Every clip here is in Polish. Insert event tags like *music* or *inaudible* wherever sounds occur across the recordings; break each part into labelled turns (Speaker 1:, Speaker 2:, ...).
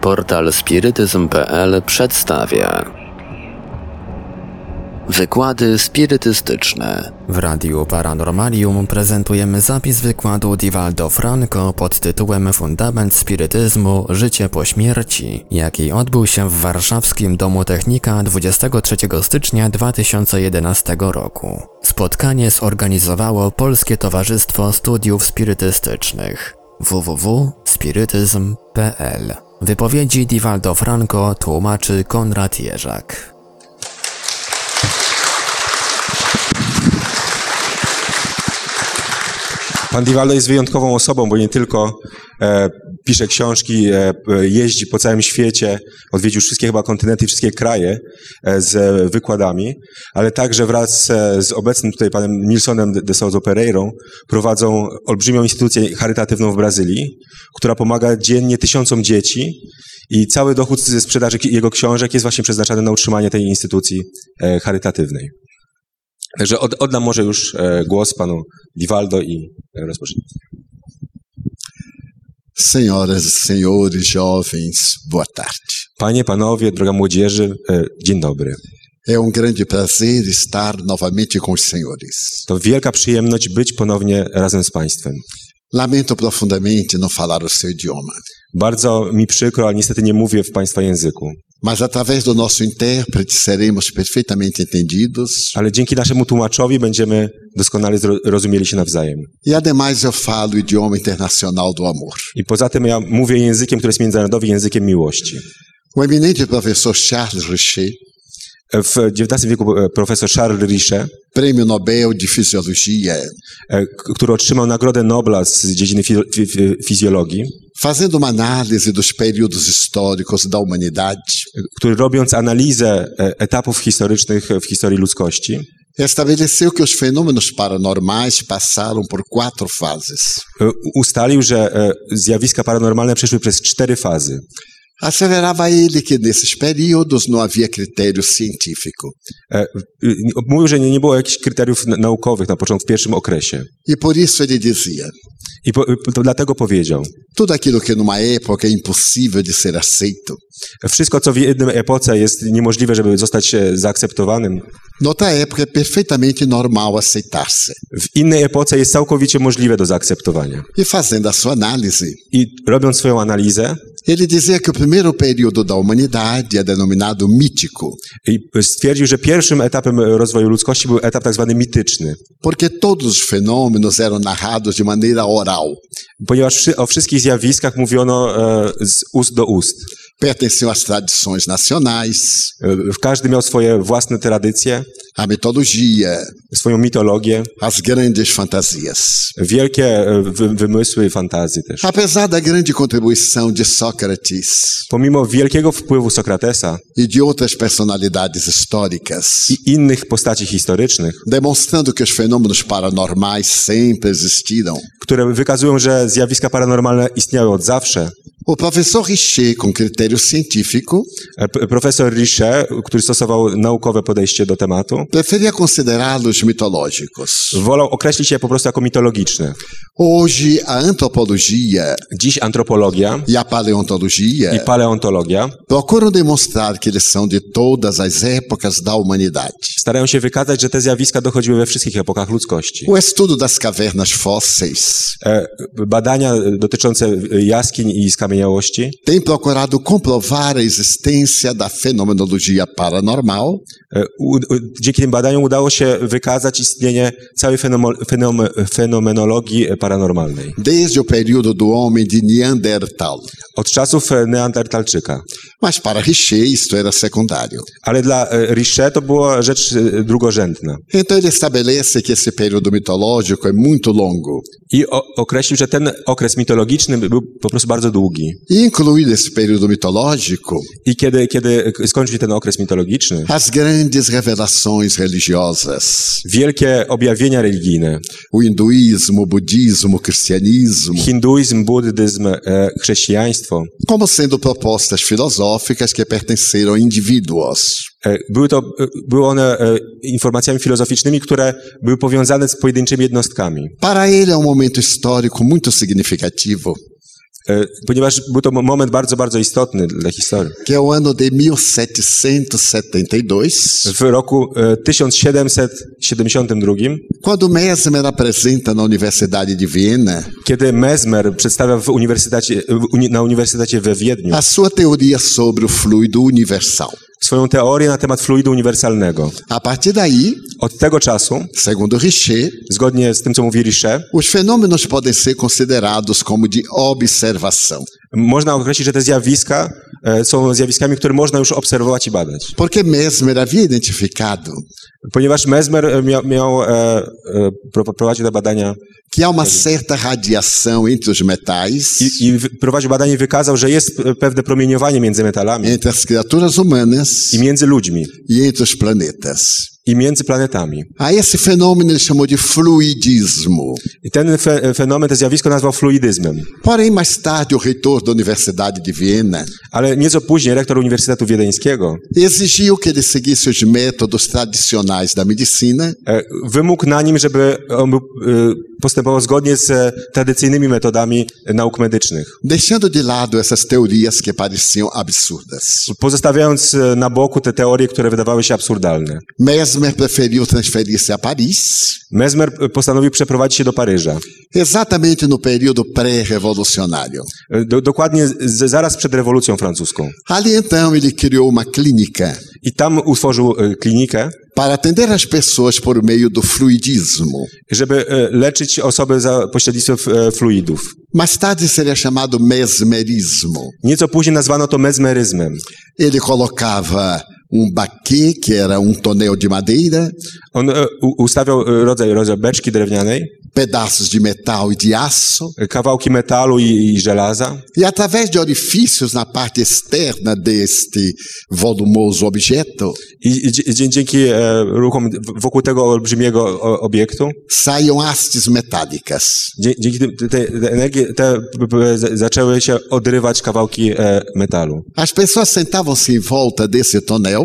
Speaker 1: Portal spirytyzm.pl przedstawia Wykłady spirytystyczne
Speaker 2: W Radiu Paranormalium prezentujemy zapis wykładu Divaldo Franco pod tytułem Fundament Spirytyzmu – Życie po śmierci, jaki odbył się w warszawskim Domu Technika 23 stycznia 2011 roku. Spotkanie zorganizowało Polskie Towarzystwo Studiów Spirytystycznych www.spirytyzm.pl Wypowiedzi Divaldo Franco tłumaczy Konrad Jerzak.
Speaker 3: Pan Diwaldo jest wyjątkową osobą, bo nie tylko e, pisze książki, e, p- jeździ po całym świecie, odwiedził wszystkie chyba kontynenty i wszystkie kraje e, z wykładami, ale także wraz e, z obecnym tutaj panem Nilsonem de Souza Pereirą prowadzą olbrzymią instytucję charytatywną w Brazylii, która pomaga dziennie tysiącom dzieci i cały dochód ze sprzedaży ki- jego książek jest właśnie przeznaczany na utrzymanie tej instytucji e, charytatywnej. Także od, oddam może już e, głos panu Diwaldo i e, rozpocznijmy.
Speaker 4: Senhoras e senhores, jovens, boa tarde.
Speaker 3: Panie, panowie, droga młodzieży, e, dzień dobry.
Speaker 4: É um grande prazer estar novamente com os senhores.
Speaker 3: To wielka przyjemność być ponownie razem z państwem.
Speaker 4: Lamento profundamente não falar o seu idioma,
Speaker 3: Bardzo mi przykro, ale niestety nie mówię w państwa języku.
Speaker 4: mas através do nosso intérprete seremos perfeitamente entendidos
Speaker 3: Ale dzięki naszemu tłumaczowi będziemy doskonale zro- rozumieli się nawzajem.
Speaker 4: e, ademais, eu falo o idioma internacional do amor.
Speaker 3: I poza tym ja mówię językiem, który jest międzynarodowy językiem miłości.
Speaker 4: O eminente professor Charles Richer,
Speaker 3: E, W XIX wieku e, profesor Charles Riche,
Speaker 4: prêmio Nobel de Fisiologia,
Speaker 3: e, k- który otrzymał Nagrodę Nobla z dziedziny fi- fi- fi- fizjologii,
Speaker 4: fazendo uma análise dos períodos históricos da humanidade,
Speaker 3: który robiąc analizę e, etapów historycznych w historii ludzkości,
Speaker 4: estabeleceu que os fenômenos paranormais passaram por quatro fases.
Speaker 3: e, ustalił, że e, zjawiska paranormalne przeszły przez cztery fazy.
Speaker 4: Acelerava ele que nesses períodos não havia critério científico
Speaker 3: E, y, Mówił, że nie, nie było jakichś kryteriów n- naukowych na początku, w pierwszym okresie.
Speaker 4: e por isso ele dizia:
Speaker 3: I po, e, to dlatego powiedział,
Speaker 4: tudo aquilo que numa época é impossível de ser aceito,
Speaker 3: wszystko co w jednym epoce jest niemożliwe, żeby zostać e, zaakceptowanym,
Speaker 4: noutra época é perfeitamente normal aceitar-se.
Speaker 3: w innej epoce jest całkowicie możliwe do zaakceptowania.
Speaker 4: E fazendo a sua análise,
Speaker 3: I robiąc swoją analizę,
Speaker 4: ele dizia que o primeiro período da humanidade é denominado mítico,
Speaker 3: i stwierdził, że pierwszym etapem e, rozwoju ludzkości był etap tak zwany mityczny,
Speaker 4: porque todos os fenômenos eram narrados de maneira oral,
Speaker 3: ponieważ wszy- o wszystkich zjawiskach mówiono e, z ust do ust.
Speaker 4: pertenciam às tradições nacionais,
Speaker 3: E, Każdy miał swoje własne tradycje,
Speaker 4: à mitologia,
Speaker 3: swoją mitologię,
Speaker 4: às grandes fantasias.
Speaker 3: wielkie e, wy- wymysły i fantazje też.
Speaker 4: Apesar da grande contribuição de Sócrates
Speaker 3: Pomimo wielkiego wpływu Sokratesa
Speaker 4: e de outras personalidades históricas,
Speaker 3: i innych postaci historycznych,
Speaker 4: demonstrando que os fenômenos paranormais sempre existiram,
Speaker 3: które wykazują, że zjawiska paranormalne istniały od zawsze,
Speaker 4: o professor Richer, com critério científico,
Speaker 3: e, p- profesor Riche, który stosował naukowe podejście do tematu,
Speaker 4: preferia considerá-los mitológicos.
Speaker 3: wolał określić je po prostu jako mitologiczne.
Speaker 4: Hoje, a antropologia
Speaker 3: Dziś antropologia
Speaker 4: e a paleontologia
Speaker 3: i paleontologia
Speaker 4: procuram demonstrar que eles são de todas as épocas da humanidade.
Speaker 3: starają się wykazać, że te zjawiska dochodziły we wszystkich epokach ludzkości.
Speaker 4: O estudo das cavernas fósseis
Speaker 3: E, Badania dotyczące e, jaskiń i skamieniałości
Speaker 4: tem procurado comprovar a existência da fenomenologia paranormal,
Speaker 3: E, u- u- Dzięki tym badaniom udało się wykazać istnienie całej fenomo- fenom- fenomenologii paranormalnej
Speaker 4: desde o período do homem de Neandertal.
Speaker 3: od czasów e, Neandertalczyka.
Speaker 4: Mas para Richer isto era secundário.
Speaker 3: Ale dla e, Riche to była rzecz e, drugorzędna.
Speaker 4: Então ele estabelece que esse período mitológico é muito longo
Speaker 3: I o, określił, że ten okres mitologiczny był po prostu bardzo długi.
Speaker 4: e inclui nesse período mitológico
Speaker 3: I kiedy, kiedy skończył się ten okres mitologiczny,
Speaker 4: as grandes revelações religiosas,
Speaker 3: wielkie objawienia religijne,
Speaker 4: o hinduísmo, o budismo, o cristianismo,
Speaker 3: hinduizm, buddyzm, e, chrześcijaństwo,
Speaker 4: como sendo propostas filosóficas que pertenceram a indivíduos.
Speaker 3: e, były, to, e, były one e, informacjami filozoficznymi, które były powiązane z pojedynczymi jednostkami.
Speaker 4: Para ele é um momento histórico muito significativo,
Speaker 3: e, ponieważ był to mo- moment bardzo, bardzo istotny dla historii.
Speaker 4: que é o ano de 1772,
Speaker 3: W roku e, 1772,
Speaker 4: quando Mesmer apresenta na Universidade de Viena
Speaker 3: kiedy Mesmer przedstawia w uniwersytecie, e, w uni, na Uniwersytecie we Wiedniu
Speaker 4: a sua teoria sobre o fluido universal.
Speaker 3: swoją teorię na temat fluidu uniwersalnego.
Speaker 4: A partir daí,
Speaker 3: Od tego czasu,
Speaker 4: segundo Richer,
Speaker 3: zgodnie z tym, co mówi Richer,
Speaker 4: os fenômenos podem ser considerados como de observação,
Speaker 3: można określić, że te zjawiska e, są zjawiskami, które można już obserwować i badać.
Speaker 4: porque Mesmer havia identificado
Speaker 3: Ponieważ Mesmer e, miał, miał e, e, pro- prowadził te badania
Speaker 4: que há uma certa radiação entre os metais,
Speaker 3: i, i wy- prowadził badanie i wykazał, że jest e, pewne promieniowanie między metalami
Speaker 4: entre as criaturas humanas
Speaker 3: i między ludźmi
Speaker 4: e entre os planetas.
Speaker 3: i między planetami.
Speaker 4: A esse fenômeno ele chamou de fluidismo.
Speaker 3: I ten fe, fenomen, to zjawisko nazwał fluidyzmem.
Speaker 4: Porém, mais tarde, o reitor da Universidade de Viena
Speaker 3: Ale nieco później rektor Uniwersytetu Wiedeńskiego
Speaker 4: exigiu que ele seguisse os métodos tradicionais da medicina
Speaker 3: e, wymógł na nim, żeby on był, e, postępował zgodnie z e, tradycyjnymi metodami e, nauk medycznych,
Speaker 4: deixando de lado essas teorias que pareciam absurdas.
Speaker 3: pozostawiając e, na boku te teorie, które wydawały się absurdalne.
Speaker 4: Mesmer preferiu transferir-se a Paris,
Speaker 3: Mesmer e, postanowił przeprowadzić się do Paryża.
Speaker 4: exatamente no período pré-revolucionário.
Speaker 3: E, Do, dokładnie z, zaraz przed rewolucją francuską.
Speaker 4: Ali então ele criou uma clínica
Speaker 3: I tam utworzył e, klinikę,
Speaker 4: para atender as pessoas por meio do fluidismo.
Speaker 3: żeby e, leczyć osoby za pośrednictwem e, fluidów.
Speaker 4: Mais tarde seria chamado mesmerismo.
Speaker 3: Nieco później nazwano to mesmeryzmem.
Speaker 4: Ele colocava um baquê, que era um tonel de madeira,
Speaker 3: On e, u- ustawiał e, rodzaj, rodzaj beczki drewnianej,
Speaker 4: pedaços de metal e de aço,
Speaker 3: e, kawałki metalu i, i żelaza
Speaker 4: e através de orifícios na parte externa deste volumoso objeto,
Speaker 3: i, i dzie- dzie- dzięki e, ruchom w- wokół tego olbrzymiego o, obiektu,
Speaker 4: saiam hastes metálicas.
Speaker 3: dzie, dzięki tym- te, te energie te p- p- z- zaczęły się odrywać kawałki e, metalu.
Speaker 4: As pessoas sentavam-se em volta desse tonel,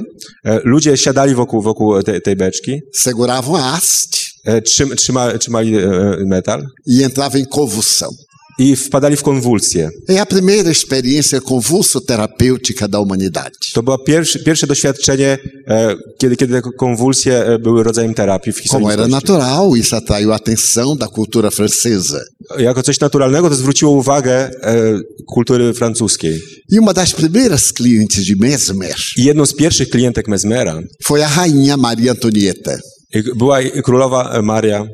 Speaker 3: E, ludzie siadali wokół, wokół te, tej beczki,
Speaker 4: seguravam a haste
Speaker 3: e, trzym, trzyma, trzymali e, metal
Speaker 4: e entravam em convulsão.
Speaker 3: i wpadali w konwulsję.
Speaker 4: É a primeira experiência convulso-terapêutica da humanidade.
Speaker 3: To było pierwsze, pierwsze doświadczenie, e, kiedy, kiedy te konwulsje e, były rodzajem terapii w historii.
Speaker 4: Como era
Speaker 3: ludzkości.
Speaker 4: natural, isso atraiu a atenção da cultura francesa.
Speaker 3: Jako coś naturalnego to zwróciło uwagę e, kultury francuskiej.
Speaker 4: E uma das primeiras clientes de Mesmer
Speaker 3: I jedną z pierwszych klientek Mesmera
Speaker 4: foi a rainha Maria Antonieta.
Speaker 3: e, była i- królowa e, Maria.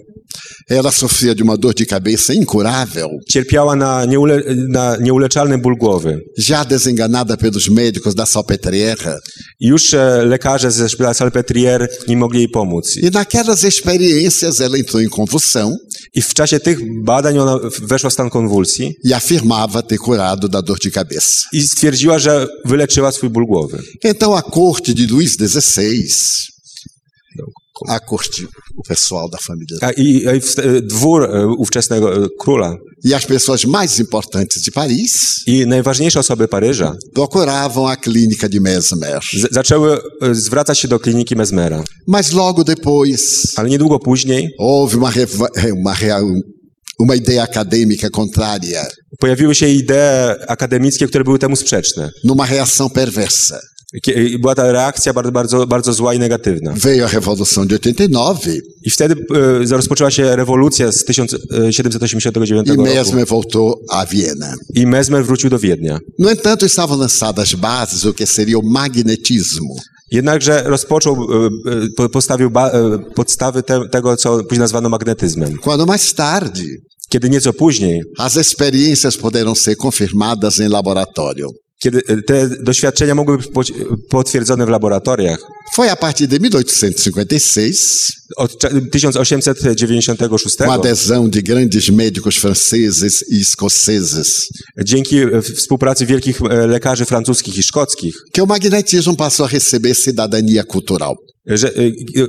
Speaker 4: Ela sofria de uma dor de cabeça incurável,
Speaker 3: Cierpiała na, nieule, na nieuleczalny ból głowy.
Speaker 4: já desenganada pelos médicos da Salpetrière.
Speaker 3: I Już e, lekarze ze szpitala Salpetriere nie mogli jej pomóc. I-
Speaker 4: E naquelas experiências ela entrou em convulsão
Speaker 3: I w czasie tych badań ona w- weszła w stan konwulsji
Speaker 4: e afirmava ter curado da dor de cabeça.
Speaker 3: i stwierdziła, że wyleczyła swój ból głowy.
Speaker 4: Então a corte de Luís XVI, a corte, o pessoal da família,
Speaker 3: A, i, i w, e, dwór e, ówczesnego e, króla
Speaker 4: e as pessoas mais importantes de Paris
Speaker 3: i najważniejsze osoby Paryża
Speaker 4: procuravam a clínica de Mesmer.
Speaker 3: z, zaczęły e, zwracać się do kliniki Mesmera.
Speaker 4: Mas logo depois,
Speaker 3: Ale niedługo później
Speaker 4: Houve uma, reva- eh, uma, rea- uma ideia acadêmica contrária,
Speaker 3: pojawiły się idee akademickie, które były temu sprzeczne.
Speaker 4: numa reação perversa.
Speaker 3: Kie- i Była ta reakcja bardzo, bardzo, bardzo zła i negatywna.
Speaker 4: Veio a Revolução de 89
Speaker 3: I wtedy e, rozpoczęła się rewolucja z 1789
Speaker 4: e
Speaker 3: roku.
Speaker 4: Mesmer voltou à Viena.
Speaker 3: I Mesmer wrócił do Wiednia.
Speaker 4: No entanto, estavam lançadas bases do que seria o magnetismo,
Speaker 3: Jednakże rozpoczął, e, e, po- postawił ba, e, podstawy te, tego, co później nazwano magnetyzmem.
Speaker 4: quando mais tarde
Speaker 3: Kiedy nieco później,
Speaker 4: as experiências poderão ser confirmadas em laboratório.
Speaker 3: kiedy e, te doświadczenia mogły być poć- potwierdzone w laboratoriach,
Speaker 4: Foi a partir de 1856,
Speaker 3: od cza- 1896
Speaker 4: com a adesão de grandes médicos franceses e escoceses,
Speaker 3: dzięki e, współpracy wielkich e, lekarzy francuskich i szkockich
Speaker 4: que o magnetismo passou a receber cidadania cultural.
Speaker 3: że e,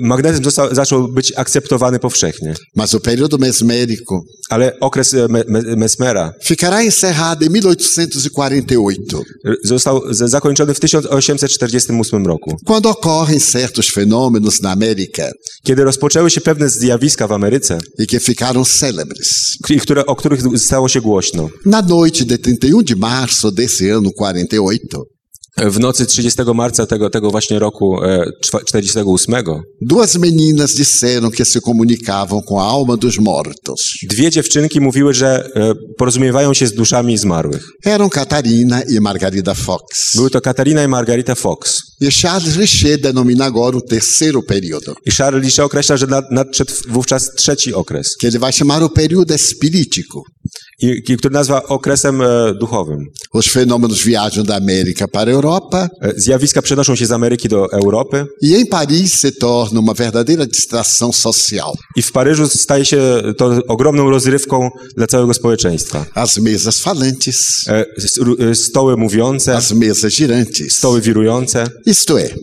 Speaker 3: magnetyzm został, zaczął być akceptowany powszechnie.
Speaker 4: Mas o período mesmérico
Speaker 3: Ale okres e, me, me, Mesmera
Speaker 4: ficará encerrado em 1848,
Speaker 3: e, został z- zakończony w 1848 roku,
Speaker 4: quando ocorrem certos fenômenos na América
Speaker 3: kiedy rozpoczęły się pewne zjawiska w Ameryce,
Speaker 4: e que ficaram célebres.
Speaker 3: k- które, o których stało się głośno.
Speaker 4: Na noite de 31 de março desse ano 48,
Speaker 3: W nocy 30 marca tego, tego właśnie roku e, czwa- 48
Speaker 4: duas meninas disseram que se comunicavam com a alma dos mortos.
Speaker 3: dwie dziewczynki mówiły, że e, porozumiewają się z duszami zmarłych.
Speaker 4: Eram Catarina e Margarida Fox.
Speaker 3: Były to Katarina i Margarita Fox.
Speaker 4: E Charles Richer denomina agora o terceiro período,
Speaker 3: I Charles Lisze określa, że nad- nadszedł wówczas trzeci okres,
Speaker 4: que ele vai chamar o período espirítico.
Speaker 3: i, i- który nazwa okresem e, duchowym.
Speaker 4: Os fenômenos viajam da América para a Europa
Speaker 3: E, Zjawiska przenoszą się z Ameryki do Europy
Speaker 4: e em Paris se torna uma verdadeira distração social.
Speaker 3: i w Paryżu staje się to ogromną rozrywką dla całego społeczeństwa.
Speaker 4: As mesas falantes,
Speaker 3: E, s- ru- e, Stoły mówiące,
Speaker 4: as mesas girantes.
Speaker 3: stoły wirujące.
Speaker 4: Isto é,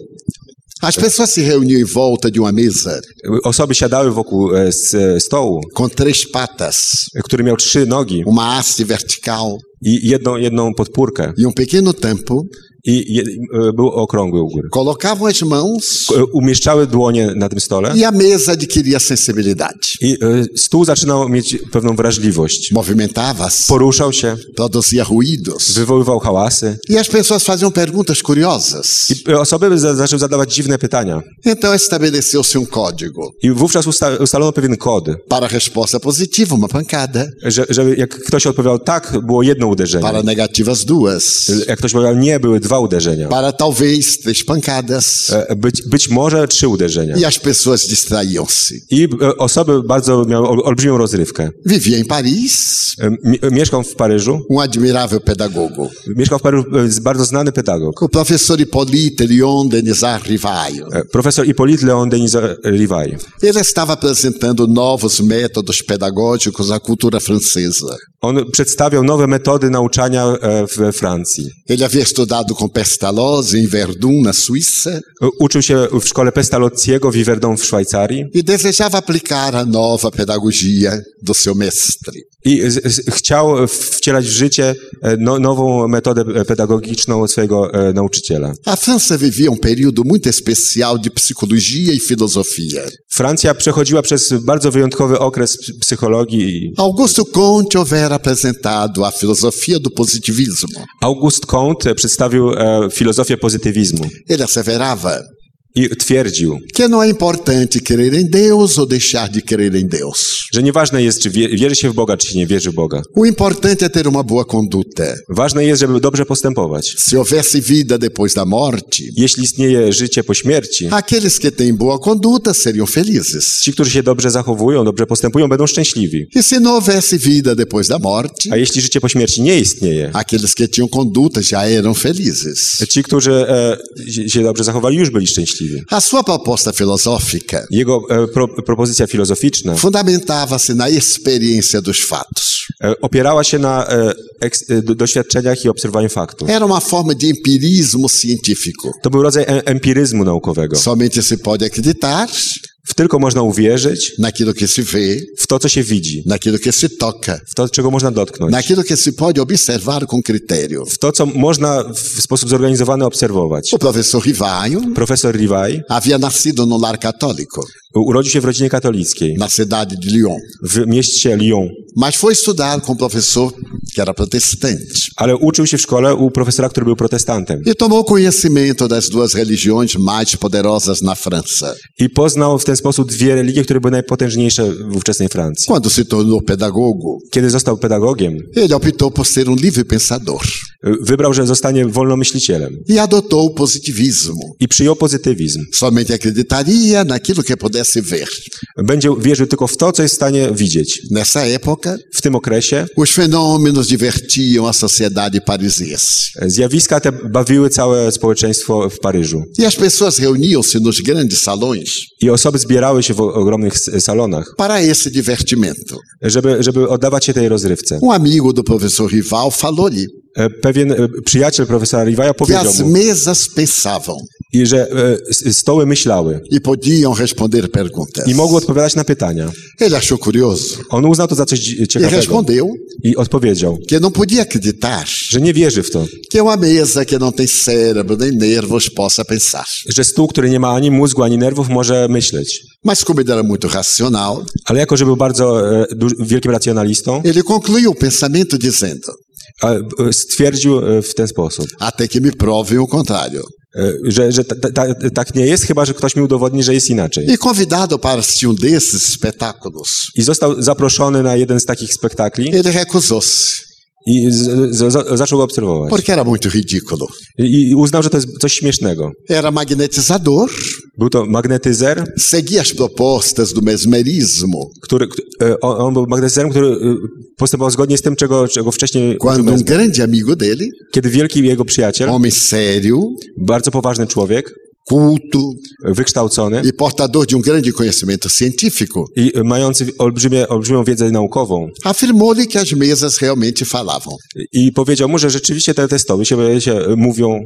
Speaker 4: as pessoas se reuniam em volta de uma mesa
Speaker 3: E, Osoby siadały wokół e, s- e, stołu,
Speaker 4: com três patas,
Speaker 3: e, który miał trzy nogi
Speaker 4: uma haste vertical
Speaker 3: i jedną, jedną podpórkę.
Speaker 4: e um pequeno tampo,
Speaker 3: I je, e, był okrągły u góry.
Speaker 4: colocavam as mãos
Speaker 3: E, Umieszczały dłonie na tym stole
Speaker 4: e a mesa adquiria sensibilidade.
Speaker 3: i e, stół zaczynał mieć pewną wrażliwość.
Speaker 4: Movimentava-se,
Speaker 3: Poruszał się,
Speaker 4: produzia ruídos.
Speaker 3: wywoływał hałasy
Speaker 4: E as pessoas faziam perguntas curiosas.
Speaker 3: i e, osoby za- zaczęły zadawać dziwne pytania.
Speaker 4: Então estabeleceu-se um código.
Speaker 3: I wówczas usta ustalono pewien kod,
Speaker 4: Para a resposta positiva, uma pancada.
Speaker 3: że, żeby jak ktoś odpowiadał tak, było jedno uderzenie.
Speaker 4: Para negativas, duas.
Speaker 3: Jak ktoś powiedział nie, były dwa uderzenia.
Speaker 4: Para talvez, três pancadas.
Speaker 3: E, Być, być może trzy uderzenia.
Speaker 4: E as pessoas distraíam-se.
Speaker 3: I e, osoby bardzo miały ol- olbrzymią rozrywkę.
Speaker 4: Vivia em Paris
Speaker 3: E, mi- e, Mieszkał w Paryżu.
Speaker 4: um admirável pedagogo.
Speaker 3: Mieszkał w Paryżu e, z- bardzo znany pedagog.
Speaker 4: O professor Hippolyte Lyon Denisard Rivaio.
Speaker 3: E, Profesor Hippolyte Leon Denis Rivai.
Speaker 4: Ele estava apresentando novos métodos pedagógicos à cultura francesa.
Speaker 3: On przedstawiał nowe metody nauczania e, we Francji.
Speaker 4: Ele havia estudado com Pestalozzi em Verdun, na Suíça,
Speaker 3: E, Uczył się w szkole Pestalozziego w Iverdon w Szwajcarii
Speaker 4: e desejava aplicar a nova pedagogia do seu mestre.
Speaker 3: i z, z, chciał w- wcielać w życie e, no, nową metodę e, pedagogiczną swojego e, nauczyciela.
Speaker 4: A França vivia um período muito especial de psicologia e filosofia.
Speaker 3: Francja przechodziła przez bardzo wyjątkowy okres ps- psychologii. i
Speaker 4: Augusto Comte houvera apresentado a filosofia do positivismo.
Speaker 3: August Comte przedstawił e, filozofię pozytywizmu
Speaker 4: Ele asseverava
Speaker 3: i twierdził,
Speaker 4: que não é importante crer em Deus ou deixar de crer em Deus.
Speaker 3: że nieważne jest, czy wie, wierzy się w Boga, czy się nie wierzy w Boga.
Speaker 4: O importante é ter uma boa conduta.
Speaker 3: Ważne jest, żeby dobrze postępować.
Speaker 4: Se houvesse vida depois da morte,
Speaker 3: Jeśli istnieje życie po śmierci,
Speaker 4: aqueles que têm boa conduta seriam felizes.
Speaker 3: ci, którzy się dobrze zachowują, dobrze postępują, będą szczęśliwi.
Speaker 4: E se não houvesse vida depois da morte,
Speaker 3: A jeśli życie po śmierci nie istnieje,
Speaker 4: aqueles que tinham conduta já eram felizes.
Speaker 3: ci, którzy e, się- się dobrze zachowali, już byli szczęśliwi.
Speaker 4: A sua proposta filosófica
Speaker 3: Jego e, pro, propozycja filozoficzna
Speaker 4: fundamentava-se na experiência dos fatos.
Speaker 3: e, opierała się na e, eks, e, do- doświadczeniach i obserwowaniu faktów.
Speaker 4: Era uma forma de empirismo científico.
Speaker 3: To był rodzaj e, empiryzmu naukowego.
Speaker 4: Somente se pode acreditar
Speaker 3: W tylko można uwierzyć
Speaker 4: naquilo que se vê,
Speaker 3: w to, co się widzi,
Speaker 4: naquilo que se toca,
Speaker 3: w to, czego można dotknąć,
Speaker 4: naquilo que se pode observar com critério.
Speaker 3: w to, co można w sposób zorganizowany obserwować.
Speaker 4: O professor Rivaio
Speaker 3: Profesor Rivai
Speaker 4: havia nascido no lar católico,
Speaker 3: urodził się w rodzinie katolickiej
Speaker 4: na cidade de Lyon,
Speaker 3: w mieście Lyon,
Speaker 4: mas foi estudar com um professor que era protestante
Speaker 3: ale uczył się w szkole u profesora, który był protestantem
Speaker 4: e tomou conhecimento das duas religiões mais poderosas na França.
Speaker 3: i poznał w ten sposób dwie religie, które były najpotężniejsze w ówczesnej Francji.
Speaker 4: Quando se tornou pedagogo,
Speaker 3: Kiedy został pedagogiem,
Speaker 4: ele optou por ser um livre pensador
Speaker 3: y, wybrał, że zostanie wolnomyślicielem
Speaker 4: e adotou o positivismo.
Speaker 3: i przyjął pozytywizm.
Speaker 4: Somente acreditaria naquilo que pudesse ver.
Speaker 3: Będzie wierzył tylko w to, co jest w stanie widzieć.
Speaker 4: Nessa época,
Speaker 3: W tym okresie
Speaker 4: os fenômenos divertiam a sociedade parisiense.
Speaker 3: y, zjawiska te bawiły całe społeczeństwo w Paryżu
Speaker 4: E as pessoas reuniam-se nos grandes salões
Speaker 3: i osoby zbierały się w o- ogromnych s- salonach,
Speaker 4: para esse divertimento.
Speaker 3: żeby, żeby oddawać się tej rozrywce.
Speaker 4: Um amigo do professor Rival falou-lhe
Speaker 3: E, Pewien e, przyjaciel profesora Rivaja
Speaker 4: que
Speaker 3: powiedział
Speaker 4: as
Speaker 3: mu,
Speaker 4: mesas pensavam
Speaker 3: i że e, s- stoły myślały
Speaker 4: e podiam responder perguntas.
Speaker 3: i mogły odpowiadać na pytania.
Speaker 4: Ele achou curioso
Speaker 3: On uznał to za coś dzi-
Speaker 4: e
Speaker 3: ciekawego
Speaker 4: respondeu
Speaker 3: i odpowiedział,
Speaker 4: que não podia acreditar
Speaker 3: że nie wierzy w to,
Speaker 4: que uma mesa que não tem cérebro nem nervos possa pensar.
Speaker 3: że stół, który nie ma ani mózgu, ani nerwów, może myśleć.
Speaker 4: Mas como ele era muito racional,
Speaker 3: Ale jako, że był bardzo e, du- wielkim racjonalistą,
Speaker 4: ele concluiu o pensamento dizendo:
Speaker 3: a, e, stwierdził e, w ten sposób,
Speaker 4: até que me provem o contrário.
Speaker 3: e, że, że ta, ta, tak nie jest, chyba że ktoś mi udowodni, że jest inaczej.
Speaker 4: E convidado para assistir um desses espetáculos,
Speaker 3: I został zaproszony na jeden z takich spektakli
Speaker 4: ele recusou-se,
Speaker 3: i z, z, z, zaczął go obserwować.
Speaker 4: porque era muito ridículo.
Speaker 3: I, I uznał, że to jest coś śmiesznego.
Speaker 4: Era magnetizador,
Speaker 3: Był to magnetyzer,
Speaker 4: seguia as propostas do mesmerismo.
Speaker 3: który, kt- e, on, on był magnetyzerem, który e, postępował zgodnie z tym, czego, czego wcześniej,
Speaker 4: Quando um grande amigo dele,
Speaker 3: kiedy wielki jego przyjaciel,
Speaker 4: homem sério,
Speaker 3: bardzo poważny człowiek,
Speaker 4: culto
Speaker 3: e, wykształcony
Speaker 4: e portador de um grande conhecimento científico,
Speaker 3: i e, mający olbrzymie, olbrzymią wiedzę naukową
Speaker 4: afirmou-lhe que as mesas realmente falavam
Speaker 3: i powiedział mu, że rzeczywiście te, te stoły się, się e, mówią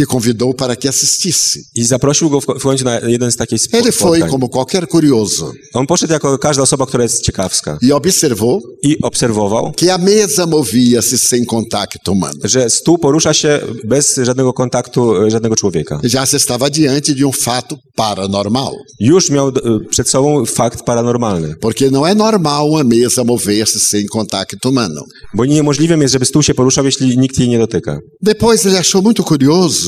Speaker 4: e convidou para que assistisse.
Speaker 3: i zaprosił go w, ko- w końcu na jeden z takich spo-
Speaker 4: Ele foi
Speaker 3: spotkań.
Speaker 4: como qualquer curioso
Speaker 3: On poszedł jako każda osoba, która jest ciekawska
Speaker 4: e observou
Speaker 3: i obserwował,
Speaker 4: que a mesa movia-se sem contacto humano.
Speaker 3: że stół porusza się bez żadnego kontaktu e, żadnego człowieka.
Speaker 4: já se estava diante de um fato paranormal.
Speaker 3: Już miał e, przed sobą fakt paranormalny,
Speaker 4: Porque não é normal uma mesa mover-se sem contato humano.
Speaker 3: bo niemożliwym jest, żeby stół się poruszał, jeśli nikt jej nie dotyka.
Speaker 4: Depois ele achou muito curioso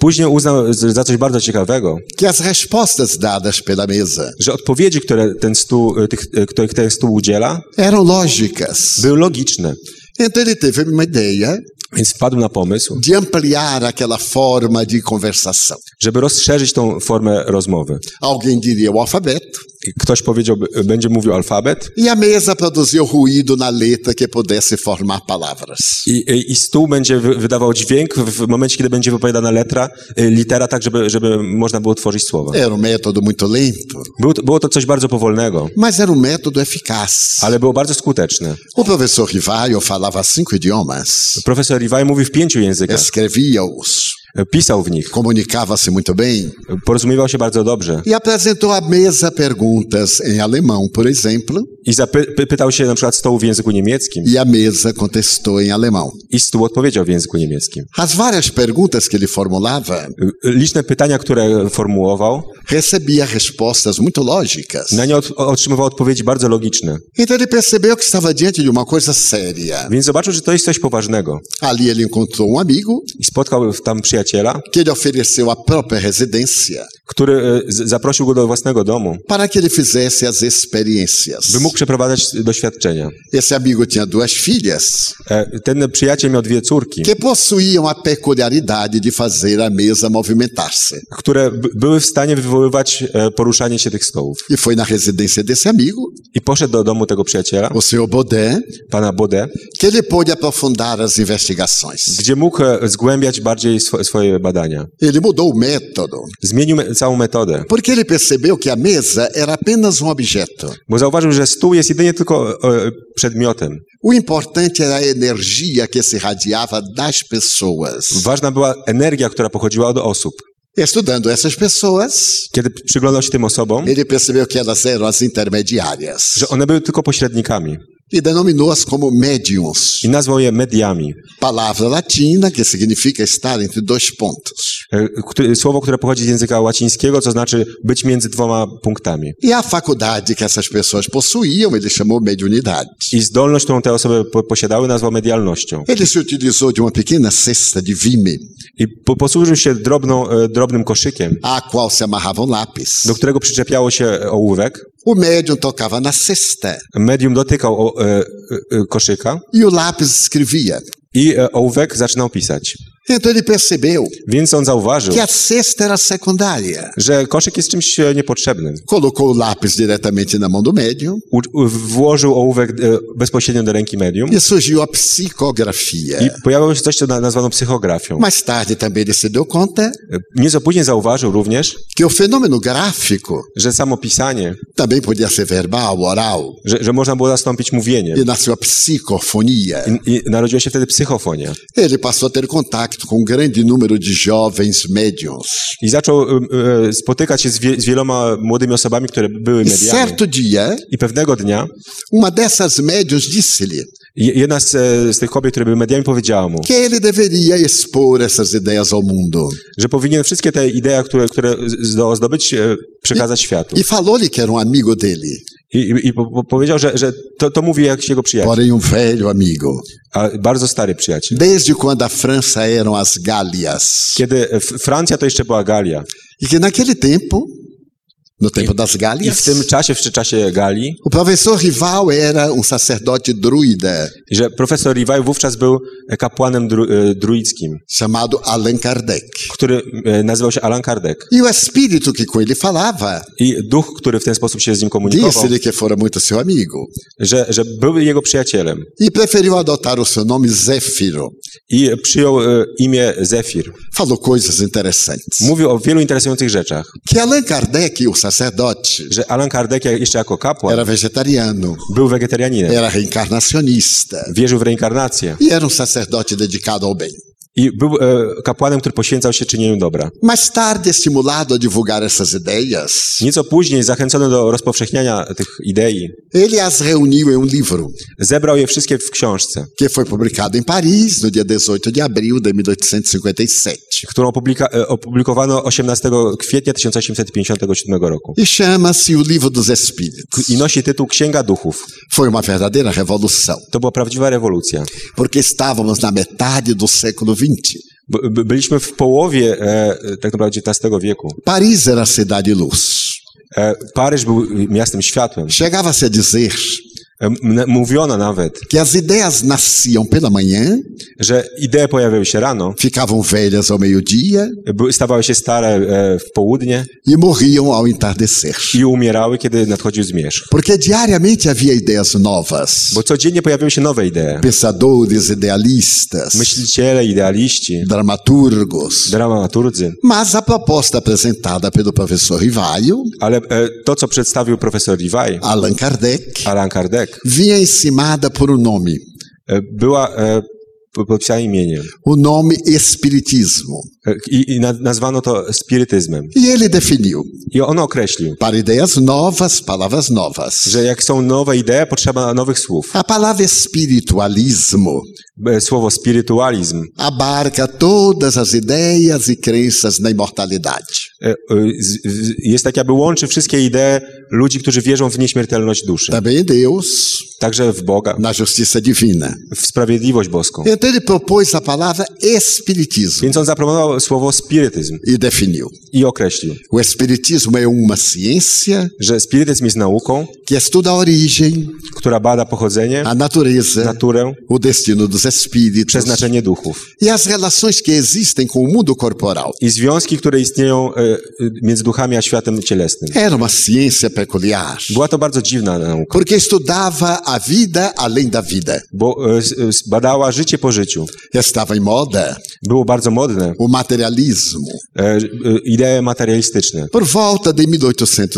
Speaker 3: Później uznał z- za coś bardzo ciekawego,
Speaker 4: que as respostas dadas pela mesa
Speaker 3: że odpowiedzi, które ten stół, e, tych, e, których ten stół udziela,
Speaker 4: eram lógicas.
Speaker 3: były logiczne.
Speaker 4: Então ele teve uma ideia
Speaker 3: Więc wpadł na pomysł,
Speaker 4: de ampliar aquela forma de conversação.
Speaker 3: żeby rozszerzyć tą formę rozmowy.
Speaker 4: Alguém diria o alfabeto,
Speaker 3: Ktoś powiedział, b- będzie mówił alfabet
Speaker 4: e a mesa produziu ruído na letra que pudesse formar palavras.
Speaker 3: i, e, i- i stół będzie wy- wydawał dźwięk w w momencie, kiedy będzie wypowiadana letra, e, litera, tak żeby, żeby można było tworzyć słowa.
Speaker 4: Era um método muito lento,
Speaker 3: Był, to- było to coś bardzo powolnego,
Speaker 4: mas era um método eficaz.
Speaker 3: ale było bardzo skuteczne.
Speaker 4: O professor Rivaio falava cinco idiomas,
Speaker 3: Profesor Iwaj mówi w pięciu językach,
Speaker 4: escrevia-os,
Speaker 3: e, pisał w nich,
Speaker 4: comunicava-se muito bem
Speaker 3: e, porozumiewał się bardzo dobrze
Speaker 4: e apresentou à mesa perguntas em alemão, por exemplo,
Speaker 3: i zapy- py- pytał się na przykład stołu w języku niemieckim
Speaker 4: e a mesa contestou em alemão.
Speaker 3: i stół odpowiedział w języku niemieckim.
Speaker 4: As várias perguntas que ele formulava
Speaker 3: E, Liczne pytania, które formułował,
Speaker 4: recebia respostas muito lógicas.
Speaker 3: na nie od, otrzymywał odpowiedzi bardzo logiczne.
Speaker 4: Então ele percebeu que estava diante de uma coisa séria.
Speaker 3: Więc zobaczył, że to jest coś poważnego.
Speaker 4: Ali ele encontrou um amigo
Speaker 3: I spotkał tam przyjaciela,
Speaker 4: que lhe ofereceu a própria residência
Speaker 3: który e, z- zaprosił go do własnego domu,
Speaker 4: para que ele fizesse as experiências.
Speaker 3: by mógł przeprowadzać doświadczenia.
Speaker 4: Esse amigo tinha duas filhas
Speaker 3: E, Ten przyjaciel miał dwie córki,
Speaker 4: que possuíam a peculiaridade de fazer a mesa movimentar-se.
Speaker 3: które b- były w stanie wywoływać e, poruszanie się tych stołów.
Speaker 4: E foi na residência desse amigo,
Speaker 3: I poszedł do domu tego przyjaciela,
Speaker 4: o senhor Baudin,
Speaker 3: pana Bodet,
Speaker 4: que ele pôde aprofundar as investigações.
Speaker 3: gdzie mógł e, zgłębiać bardziej swo- swoje badania.
Speaker 4: Ele mudou o método,
Speaker 3: Zmienił me- całą metodę,
Speaker 4: porque ele percebeu que a mesa era apenas um objeto.
Speaker 3: bo zauważył, że stół jest jedynie tylko e, przedmiotem.
Speaker 4: O importante era a energia que se irradiava das pessoas.
Speaker 3: Ważna była energia, która pochodziła od osób.
Speaker 4: Estudando essas pessoas,
Speaker 3: Kiedy przyglądał się tym osobom,
Speaker 4: ele percebeu que elas eram as intermediárias
Speaker 3: że one były tylko pośrednikami
Speaker 4: e denominou-as como médiums.
Speaker 3: i nazwał je mediami.
Speaker 4: palavra latina que significa estar entre dois pontos.
Speaker 3: E, któ- Słowo, które pochodzi z języka łacińskiego, co znaczy być między dwoma punktami.
Speaker 4: E a faculdade que essas pessoas possuíam, ele chamou mediunidade.
Speaker 3: I zdolność, którą te osoby po- posiadały, nazwał medialnością.
Speaker 4: Ele se utilizou de uma pequena cesta de vime,
Speaker 3: I po- posłużył się drobną, e, drobnym koszykiem,
Speaker 4: à qual se amarrava um lápis.
Speaker 3: do którego przyczepiało się e, ołówek.
Speaker 4: O médium tocava na cesta
Speaker 3: Medium dotykał o, e, e, e, koszyka
Speaker 4: e o lápis escrevia.
Speaker 3: i e, ołówek zaczynał pisać.
Speaker 4: Então ele percebeu
Speaker 3: Więc on zauważył,
Speaker 4: que a cesta era secundária.
Speaker 3: że koszyk jest czymś e, niepotrzebnym.
Speaker 4: Colocou o lápis diretamente na mão do médium
Speaker 3: U, u- włożył ołówek e, bezpośrednio do ręki medium
Speaker 4: e surgiu a psicografia.
Speaker 3: i pojawiło się coś, co na- nazwano psychografią.
Speaker 4: Mais tarde também ele se deu conta
Speaker 3: E, Nieco później zauważył również,
Speaker 4: que o fenômeno gráfico
Speaker 3: że samo pisanie,
Speaker 4: também podia ser verbal, oral,
Speaker 3: że, że można było zastąpić mówienie.
Speaker 4: e nasceu a psicofonia.
Speaker 3: I, I narodziła się wtedy psychofonia.
Speaker 4: Ele passou a ter contato contacto com um grande número de jovens médiums.
Speaker 3: I zaczął em, e, spotykać się z, wie, z wieloma młodymi osobami, które były
Speaker 4: E
Speaker 3: mediami.
Speaker 4: certo dia,
Speaker 3: I pewnego dnia
Speaker 4: uma dessas médiums disse-lhe
Speaker 3: je- jedna z, e, z tych kobiet, które były mediami, powiedziała mu,
Speaker 4: que ele deveria expor essas ideias ao mundo.
Speaker 3: że powinien wszystkie te idee, które, które zdołał zdobyć, e, przekazać światu.
Speaker 4: E falou-lhe que era um amigo dele,
Speaker 3: I, i, i po- po- powiedział, że, że to, to mówi jakiś jego przyjaciel,
Speaker 4: porém um velho amigo.
Speaker 3: a bardzo stary przyjaciel.
Speaker 4: Desde quando a França eram as Gálias.
Speaker 3: Kiedy e, F- Francja to jeszcze była Galia.
Speaker 4: E que naquele tempo, no tempo das
Speaker 3: I
Speaker 4: Gálias,
Speaker 3: w tym czasie, w czasie Galii,
Speaker 4: o professor rival era um sacerdote druida
Speaker 3: że profesor Rivaj wówczas był kapłanem dru, e, druickim,
Speaker 4: chamado Allan Kardec.
Speaker 3: który e, nazywał się Alan Kardec.
Speaker 4: E o espírito que com ele falava
Speaker 3: I duch, który w ten sposób się z nim komunikował,
Speaker 4: disse-lhe que fora muito seu amigo
Speaker 3: że, że był jego przyjacielem
Speaker 4: e preferiu adotar o seu nome Zéfiro.
Speaker 3: i przyjął e, imię Zefir.
Speaker 4: Falou coisas interessantes.
Speaker 3: Mówił o wielu interesujących rzeczach,
Speaker 4: Que Allan Kardec, o sacerdote,
Speaker 3: że Alan Kardec jak- jeszcze jako kapłan
Speaker 4: era vegetariano,
Speaker 3: był wegetarianinem,
Speaker 4: era reencarnacionista
Speaker 3: wierzył w reinkarnację
Speaker 4: e era um sacerdote dedicado ao bem.
Speaker 3: i był e, kapłanem, który poświęcał się czynieniu dobra.
Speaker 4: Mais tarde, estimulado a divulgar essas ideias,
Speaker 3: Nieco później, zachęcony do rozpowszechniania tych idei,
Speaker 4: ele as reuniu em um livro
Speaker 3: zebrał je wszystkie w książce,
Speaker 4: que foi publicado em Paris no dia 18 de abril de 1857
Speaker 3: którą opublika- e, opublikowano 18 kwietnia 1857 roku.
Speaker 4: e chama-se O Livro dos Espíritos.
Speaker 3: I nosi tytuł Księga Duchów.
Speaker 4: Foi uma verdadeira revolução,
Speaker 3: To była prawdziwa rewolucja.
Speaker 4: porque estávamos na metade do século XX.
Speaker 3: By- by- Byliśmy w połowie e, tak naprawdę XIX wieku.
Speaker 4: Paris era a cidade luz.
Speaker 3: E, Paryż był miastem światłem.
Speaker 4: Chegava-se a dizer
Speaker 3: E, m- Mówiono nawet,
Speaker 4: que as ideias nasciam pela manhã,
Speaker 3: że idee pojawiały się rano,
Speaker 4: ficavam velhas ao meio-dia
Speaker 3: by- stawały się stare e, w południe
Speaker 4: e morriam ao entardecer.
Speaker 3: i umierały, kiedy nadchodził zmierzch.
Speaker 4: Porque diariamente havia ideias novas.
Speaker 3: Bo codziennie pojawiały się nowe idee.
Speaker 4: Pensadores, idealistas,
Speaker 3: Myśliciele, idealiści,
Speaker 4: dramaturgos.
Speaker 3: dramaturdzy.
Speaker 4: Mas a proposta apresentada pelo professor Rivaio,
Speaker 3: Ale e, to, co przedstawił profesor Levi,
Speaker 4: Allan Kardec,
Speaker 3: Alan Kardec,
Speaker 4: vinha encimada por um nome,
Speaker 3: e, była e, p- podpisana imieniem.
Speaker 4: o nome Espiritismo.
Speaker 3: E, I, i na- nazwano to spirytyzmem.
Speaker 4: E ele definiu,
Speaker 3: I on określił,
Speaker 4: para ideias novas, palavras novas.
Speaker 3: że jak są nowe idee, potrzeba nowych słów.
Speaker 4: A palavra espiritualismo
Speaker 3: E, Słowo spirytualizm
Speaker 4: abarca todas as ideias e crenças na imortalidade.
Speaker 3: e, e, z- w- jest tak, jakby łączy wszystkie idee ludzi, którzy wierzą w nieśmiertelność duszy.
Speaker 4: Também em Deus,
Speaker 3: Także w Boga,
Speaker 4: na justiça divina.
Speaker 3: w sprawiedliwość boską.
Speaker 4: Então ele propôs a palavra espiritismo
Speaker 3: Więc on zaproponował słowo spirytyzm
Speaker 4: e definiu.
Speaker 3: i określił,
Speaker 4: O espiritismo é uma ciência
Speaker 3: że spirytyzm jest nauką,
Speaker 4: que estuda a origem,
Speaker 3: która bada pochodzenie,
Speaker 4: a natureza,
Speaker 3: naturę,
Speaker 4: o destino dos espíritos
Speaker 3: przeznaczenie duchów.
Speaker 4: e as relações que existem com o mundo corporal.
Speaker 3: i związki, które istnieją e, e, między duchami a światem cielesnym.
Speaker 4: Era uma ciência peculiar,
Speaker 3: Była to bardzo dziwna nauka,
Speaker 4: porque estudava a vida além da vida.
Speaker 3: bo e, s- e, s- badała życie po życiu.
Speaker 4: Estava em moda
Speaker 3: Było bardzo modne,
Speaker 4: o materialismo.
Speaker 3: e, e, idee materialistyczne.
Speaker 4: Por volta de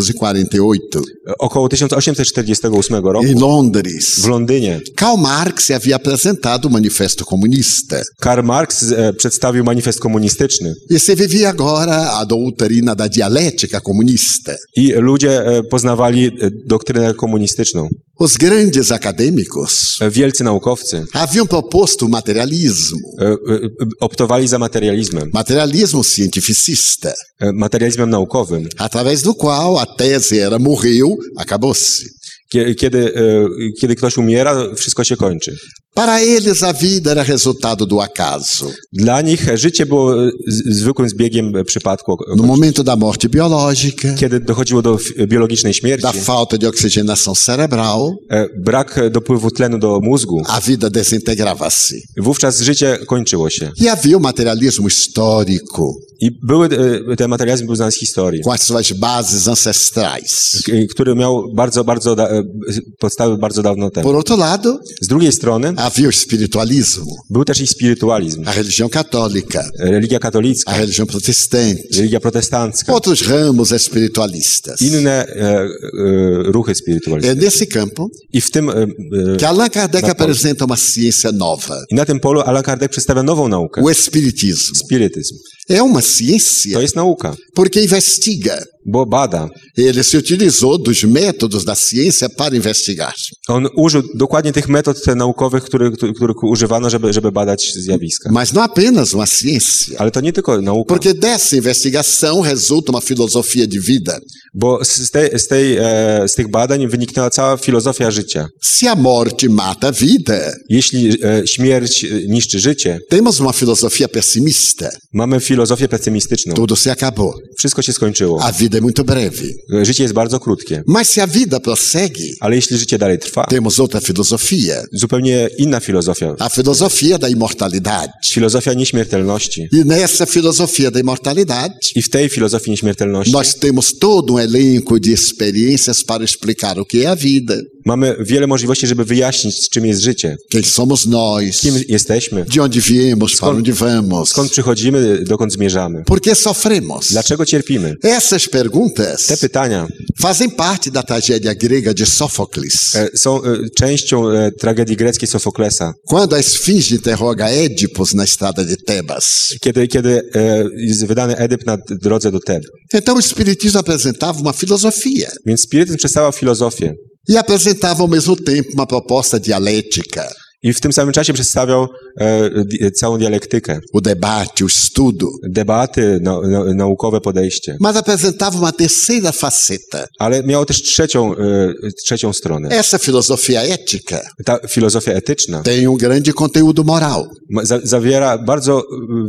Speaker 4: 1848,
Speaker 3: E, Około 1848 roku
Speaker 4: em Londres,
Speaker 3: w Londynie
Speaker 4: Karl Marx havia apresentado o Manifesto Comunista.
Speaker 3: Karl Marx e, przedstawił manifest komunistyczny
Speaker 4: E se vivia agora a doutrina da dialética comunista.
Speaker 3: i ludzie e, poznawali e, doktrynę komunistyczną.
Speaker 4: Os grandes acadêmicos
Speaker 3: E, Wielcy naukowcy
Speaker 4: haviam proposto o materialismo,
Speaker 3: e, e, e, optowali za materializmem,
Speaker 4: materialismo cientificista,
Speaker 3: e, materializmem naukowym,
Speaker 4: através do qual a tese era morreu, acabou-se.
Speaker 3: Kie- kiedy, e, kiedy ktoś umiera, wszystko się kończy.
Speaker 4: Para eles, a vida era resultado do acaso.
Speaker 3: Dla nich życie było e, z- zwykłym zbiegiem e, przypadku, e,
Speaker 4: No momento da morte biológica,
Speaker 3: kiedy dochodziło do f- biologicznej
Speaker 4: da
Speaker 3: śmierci,
Speaker 4: falta de oxigenação cerebral,
Speaker 3: e, brak e, dopływu tlenu do mózgu,
Speaker 4: a vida desintegrava-se.
Speaker 3: wówczas życie kończyło się.
Speaker 4: E havia o materialismo histórico,
Speaker 3: I były, e, ten materializm był znany z historii,
Speaker 4: com as suas bases ancestrais.
Speaker 3: k- który miał bardzo, bardzo, da, e, podstawy bardzo dawno temu.
Speaker 4: Por outro lado,
Speaker 3: Z drugiej strony
Speaker 4: havia o espiritualismo,
Speaker 3: był też i spirytualizm,
Speaker 4: a religião católica,
Speaker 3: religia
Speaker 4: a
Speaker 3: katolicka,
Speaker 4: religião protestante,
Speaker 3: religia protestancka,
Speaker 4: outros ramos espiritualistas.
Speaker 3: inne e, e, ruchy
Speaker 4: É
Speaker 3: spirytualistyczne.
Speaker 4: nesse campo
Speaker 3: I w tym, e, e,
Speaker 4: que Allan Kardec
Speaker 3: Na-
Speaker 4: apresenta uma ciência nova,
Speaker 3: i na tym polu Allan Kardec przedstawia nową naukę,
Speaker 4: o espiritismo.
Speaker 3: spirytyzm.
Speaker 4: É uma
Speaker 3: To
Speaker 4: ciência
Speaker 3: jest nauka,
Speaker 4: porque investiga.
Speaker 3: bo bada.
Speaker 4: Ele se utilizou dos métodos da ciência para investigar.
Speaker 3: On użył dokładnie tych metod te naukowych, których, których, których używano, żeby, żeby badać zjawiska.
Speaker 4: Mas não apenas uma ciência.
Speaker 3: Ale to nie tylko nauka,
Speaker 4: Porque dessa investigação resulta uma filosofia de vida.
Speaker 3: bo z, z tej, z, tej, e, z tych badań wyniknęła cała filozofia życia.
Speaker 4: Se a morte mata a vida,
Speaker 3: Jeśli e, śmierć e, niszczy życie,
Speaker 4: temos uma filosofia pessimista.
Speaker 3: mamy filozofię pesymistyczną.
Speaker 4: Tudo se acabou.
Speaker 3: Wszystko się skończyło.
Speaker 4: A vida é muito breve.
Speaker 3: E, Życie jest bardzo krótkie.
Speaker 4: Mas se a vida prossegue,
Speaker 3: Ale jeśli życie dalej trwa,
Speaker 4: temos outra filosofia.
Speaker 3: zupełnie inna filozofia.
Speaker 4: A filosofia da imortalidade.
Speaker 3: Filozofia nieśmiertelności.
Speaker 4: E nessa filosofia da imortalidade,
Speaker 3: I w tej filozofii nieśmiertelności
Speaker 4: nós temos todo um elenco de experiências para explicar o que é a vida,
Speaker 3: mamy wiele możliwości, żeby wyjaśnić, czym jest życie,
Speaker 4: quem somos nós,
Speaker 3: kim jesteśmy,
Speaker 4: de onde viemos, para onde vamos,
Speaker 3: skąd przychodzimy, dokąd zmierzamy,
Speaker 4: por que sofremos.
Speaker 3: dlaczego cierpimy.
Speaker 4: Essas perguntas
Speaker 3: Te pytania
Speaker 4: fazem parte da tragédia grega de Sófocles.
Speaker 3: e, są e, częścią e, tragedii greckiej Sofoklesa.
Speaker 4: Quando a esfinge interroga Édipos na estrada de Tebas.
Speaker 3: kiedy, kiedy e, jest wydany Edyp na drodze do Teb.
Speaker 4: Então o espiritismo apresentava uma filosofia
Speaker 3: Więc spirytyzm przedstawia filozofię
Speaker 4: e apresentava ao mesmo tempo uma proposta dialética,
Speaker 3: i w tym samym czasie przedstawiał e, di- całą dialektykę,
Speaker 4: o debate, o estudo,
Speaker 3: debaty, nau- nau- naukowe podejście.
Speaker 4: mas apresentava uma terceira faceta.
Speaker 3: Ale miał też trzecią, e, trzecią stronę.
Speaker 4: Essa filosofia ética
Speaker 3: Ta filozofia etyczna
Speaker 4: tem um grande conteúdo moral,
Speaker 3: ma- za, zawiera bardzo e,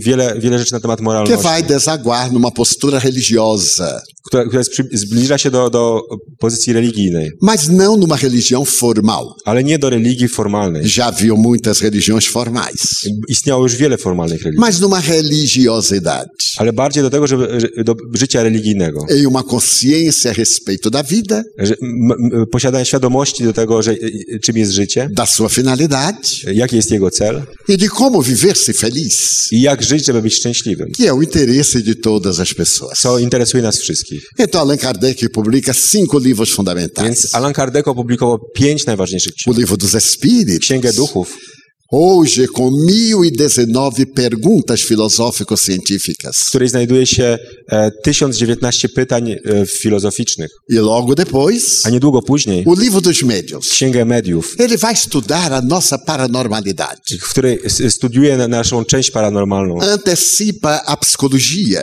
Speaker 3: wiele, wiele rzeczy na temat
Speaker 4: que
Speaker 3: moralności,
Speaker 4: vai desaguar numa postura religiosa,
Speaker 3: która, która jest, przy- zbliża się do, do pozycji religijnej,
Speaker 4: mas não numa religião formal.
Speaker 3: ale nie do religii formalnej.
Speaker 4: Já haviam muitas religiões formais.
Speaker 3: Istniało już wiele formalnych religii,
Speaker 4: mas numa religiosidade,
Speaker 3: ale bardziej do tego, żeby, że- do życia religijnego.
Speaker 4: em uma consciência a respeito da vida,
Speaker 3: że, m, m, posiadania świadomości do tego, że, y, y, czym jest życie,
Speaker 4: da sua finalidade
Speaker 3: y, jaki jest jego cel
Speaker 4: e de como viver-se feliz,
Speaker 3: i jak żyć, żeby być szczęśliwym,
Speaker 4: que é o interesse de todas as pessoas.
Speaker 3: co interesuje nas wszystkich.
Speaker 4: Então, Allan Kardec publica cinco livros fundamentais.
Speaker 3: Więc Allan Kardec opublikował pięć najważniejszych
Speaker 4: O
Speaker 3: ksiąg.
Speaker 4: livro dos Espíritos,
Speaker 3: Księgę Duchów,
Speaker 4: hoje com 1019 perguntas filosófico-científicas.
Speaker 3: w której znajduje się e, 1019 pytań e, filozoficznych,
Speaker 4: E logo depois,
Speaker 3: a niedługo później
Speaker 4: o livro dos Médiuns.
Speaker 3: Księgę Mediów,
Speaker 4: Ele vai estudar a nossa paranormalidade,
Speaker 3: w której s- studiuje na- naszą część paranormalną
Speaker 4: antecipa a psicologia,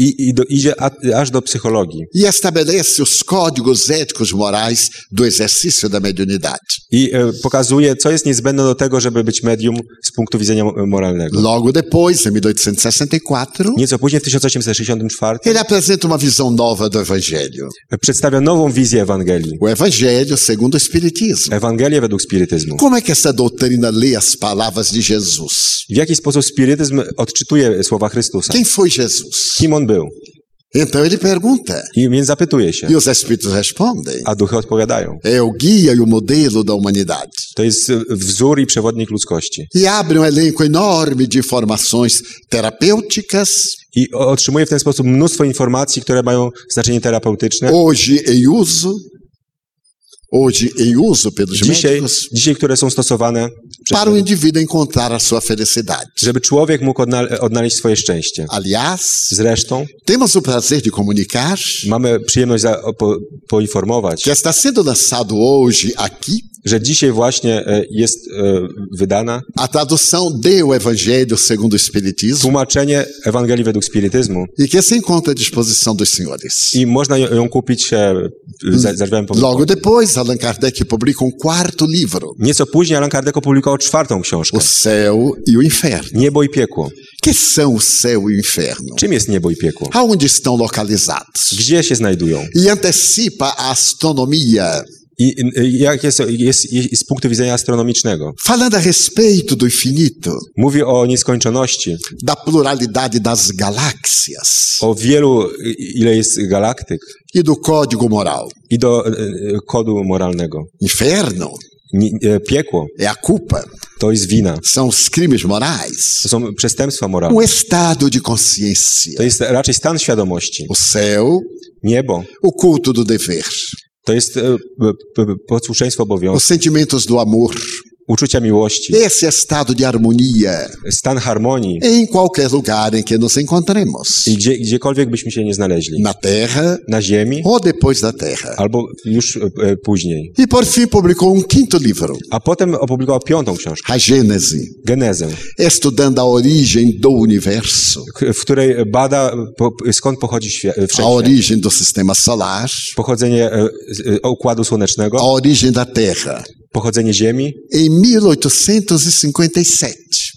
Speaker 3: i, i do, idzie a, aż do psychologii
Speaker 4: e estabelece os códigos éticos morais do exercício da mediunidade.
Speaker 3: i e, pokazuje, co jest niezbędne do tego, żeby być medium z punktu widzenia mo- moralnego.
Speaker 4: Logo depois, em 1864,
Speaker 3: Nieco później, w 1864,
Speaker 4: ele apresenta uma visão nova do Evangelho.
Speaker 3: e, przedstawia nową wizję Ewangelii.
Speaker 4: O Evangelho segundo o Espiritismo.
Speaker 3: Ewangelię według spirytyzmu.
Speaker 4: Como é que essa doutrina lê as palavras de Jesus?
Speaker 3: W jaki sposób spirytyzm odczytuje słowa Chrystusa?
Speaker 4: Quem foi Jesus?
Speaker 3: Kim on był?
Speaker 4: Então ele pergunta,
Speaker 3: I więc zapytuje się,
Speaker 4: e os Espíritos respondem.
Speaker 3: a duchy odpowiadają.
Speaker 4: É o guia e o modelo da humanidade.
Speaker 3: To jest e, wzór i przewodnik ludzkości.
Speaker 4: E abre um elenco enorme de informações terapêuticas,
Speaker 3: I o- otrzymuje w ten sposób mnóstwo informacji, które mają znaczenie terapeutyczne.
Speaker 4: hoje em uso, hoje em uso pelos
Speaker 3: Dzisiaj,
Speaker 4: médicos,
Speaker 3: dzisiaj które są stosowane, przez,
Speaker 4: para o indivíduo encontrar a sua felicidade.
Speaker 3: żeby człowiek mógł odnal- odnaleźć swoje szczęście.
Speaker 4: Aliás,
Speaker 3: Zresztą
Speaker 4: temos o prazer de comunicar
Speaker 3: mamy przyjemność za, o- po, poinformować,
Speaker 4: que está sendo lançado hoje aqui
Speaker 3: że dzisiaj właśnie e, jest e, wydana
Speaker 4: a tradução de O Evangelho segundo o Espiritismo
Speaker 3: tłumaczenie Ewangelii według spirytyzmu
Speaker 4: e que se encontra à disposição dos senhores.
Speaker 3: i można ją- ją kupić, e, za, za drzwiami publicznymi.
Speaker 4: Logo depois, Allan Kardec publica um quarto livro,
Speaker 3: Nieco później Allan Kardec opublikował czwartą książkę.
Speaker 4: O Céu e o Inferno.
Speaker 3: Niebo i piekło.
Speaker 4: Que são o céu e o inferno?
Speaker 3: Czym jest niebo i piekło?
Speaker 4: Aonde estão localizados?
Speaker 3: Gdzie się znajdują?
Speaker 4: e antecipa a astronomia
Speaker 3: I, i jak jest, jest, jest z punktu widzenia astronomicznego.
Speaker 4: Falando a respeito do infinito,
Speaker 3: Mówi o nieskończoności,
Speaker 4: da pluralidade das galáxias
Speaker 3: o wielu, i- ile jest galaktyk
Speaker 4: e do código moral.
Speaker 3: i do e, e, kodu moralnego.
Speaker 4: Inferno
Speaker 3: Ni- e, Piekło
Speaker 4: é a culpa,
Speaker 3: to jest wina,
Speaker 4: são os crimes morais.
Speaker 3: to są przestępstwa
Speaker 4: Um
Speaker 3: moralne.
Speaker 4: estado de consciência.
Speaker 3: To jest raczej stan świadomości.
Speaker 4: O céu,
Speaker 3: Niebo
Speaker 4: o culto do dever,
Speaker 3: to jest e, p- p- posłuszeństwo
Speaker 4: os
Speaker 3: obowiązku,
Speaker 4: sentimentos do amor.
Speaker 3: uczucia miłości,
Speaker 4: Esse estado de harmonia
Speaker 3: stan harmonii
Speaker 4: em qualquer lugar em que nos encontremos.
Speaker 3: i gdzie, gdziekolwiek byśmy się nie znaleźli.
Speaker 4: Na terra
Speaker 3: Na ziemi
Speaker 4: ou depois da terra.
Speaker 3: albo już e, e, później.
Speaker 4: E por fim publicou um quinto livro,
Speaker 3: A potem opublikował piątą książkę,
Speaker 4: A Gênese,
Speaker 3: Genezę,
Speaker 4: estudando a origem do universo,
Speaker 3: k- w której bada po, skąd pochodzi świat,
Speaker 4: a
Speaker 3: wszechświat,
Speaker 4: origem do sistema solar,
Speaker 3: pochodzenie e, z- e, układu
Speaker 4: a
Speaker 3: słonecznego,
Speaker 4: origem da terra.
Speaker 3: pochodzenie ziemi.
Speaker 4: Em 1857,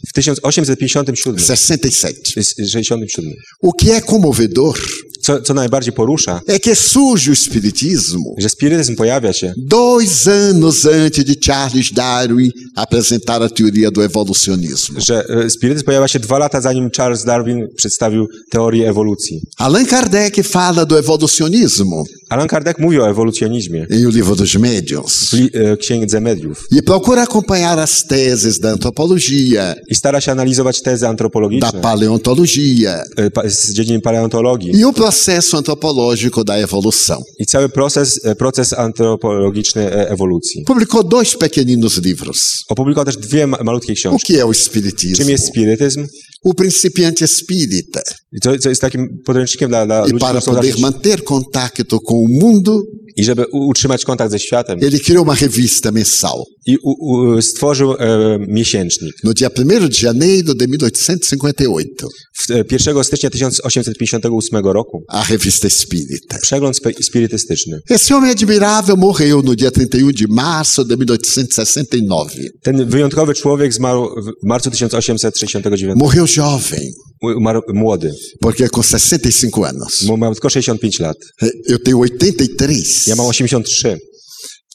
Speaker 3: W 1857
Speaker 4: 67,
Speaker 3: s- 67.
Speaker 4: o que é comovedor
Speaker 3: Co, co najbardziej porusza,
Speaker 4: é que surge o espiritismo
Speaker 3: że spirytyzm pojawia się
Speaker 4: dois anos antes de Charles Darwin apresentar a teoria do evolucionismo.
Speaker 3: że e, spirytyzm pojawia się dwa lata zanim Charles Darwin przedstawił teorię ewolucji.
Speaker 4: Allan Kardec fala do evolucionismo
Speaker 3: Allan Kardec mówi o ewolucjonizmie
Speaker 4: em O Livro dos Médiuns.
Speaker 3: w li- e, Księdze Mediów
Speaker 4: E procura acompanhar as teses da antropologia,
Speaker 3: i stara się analizować tezy
Speaker 4: da
Speaker 3: antropologiczne
Speaker 4: paleontologia
Speaker 3: e, pa- z dziedzin paleontologii
Speaker 4: e o processo antropológico da evolução.
Speaker 3: i cały proces, e, proces antropologiczny e, ewolucji.
Speaker 4: Publicou dois pequeninos livros.
Speaker 3: Opublikował też dwie ma- malutkie
Speaker 4: O
Speaker 3: książki.
Speaker 4: que é o
Speaker 3: Czym
Speaker 4: espiritismo?
Speaker 3: jest spirytyzm?
Speaker 4: O principiante espírita.
Speaker 3: I co, co jest takim podręcznikiem dla, dla
Speaker 4: E
Speaker 3: ludzi,
Speaker 4: para
Speaker 3: którzy są
Speaker 4: poder
Speaker 3: zawsze-
Speaker 4: manter contato com o mundo,
Speaker 3: i żeby u- utrzymać kontakt ze światem.
Speaker 4: ele criou uma revista mensal.
Speaker 3: I u, u, stworzył e, miesięcznik.
Speaker 4: No dia 1 de janeiro de 1858,
Speaker 3: W, e, 1 stycznia 1858 roku
Speaker 4: a revista espírita.
Speaker 3: przegląd spe- spirytystyczny.
Speaker 4: Esse homem admirável morreu no dia 31 de março de 1869.
Speaker 3: Ten wyjątkowy człowiek zmarł w marcu 1869.
Speaker 4: Morreu jovem.
Speaker 3: Umarł młody.
Speaker 4: Porque com 65 anos,
Speaker 3: Mu- Miał tylko 65 lat.
Speaker 4: eu tenho 83.
Speaker 3: Ja mam 83.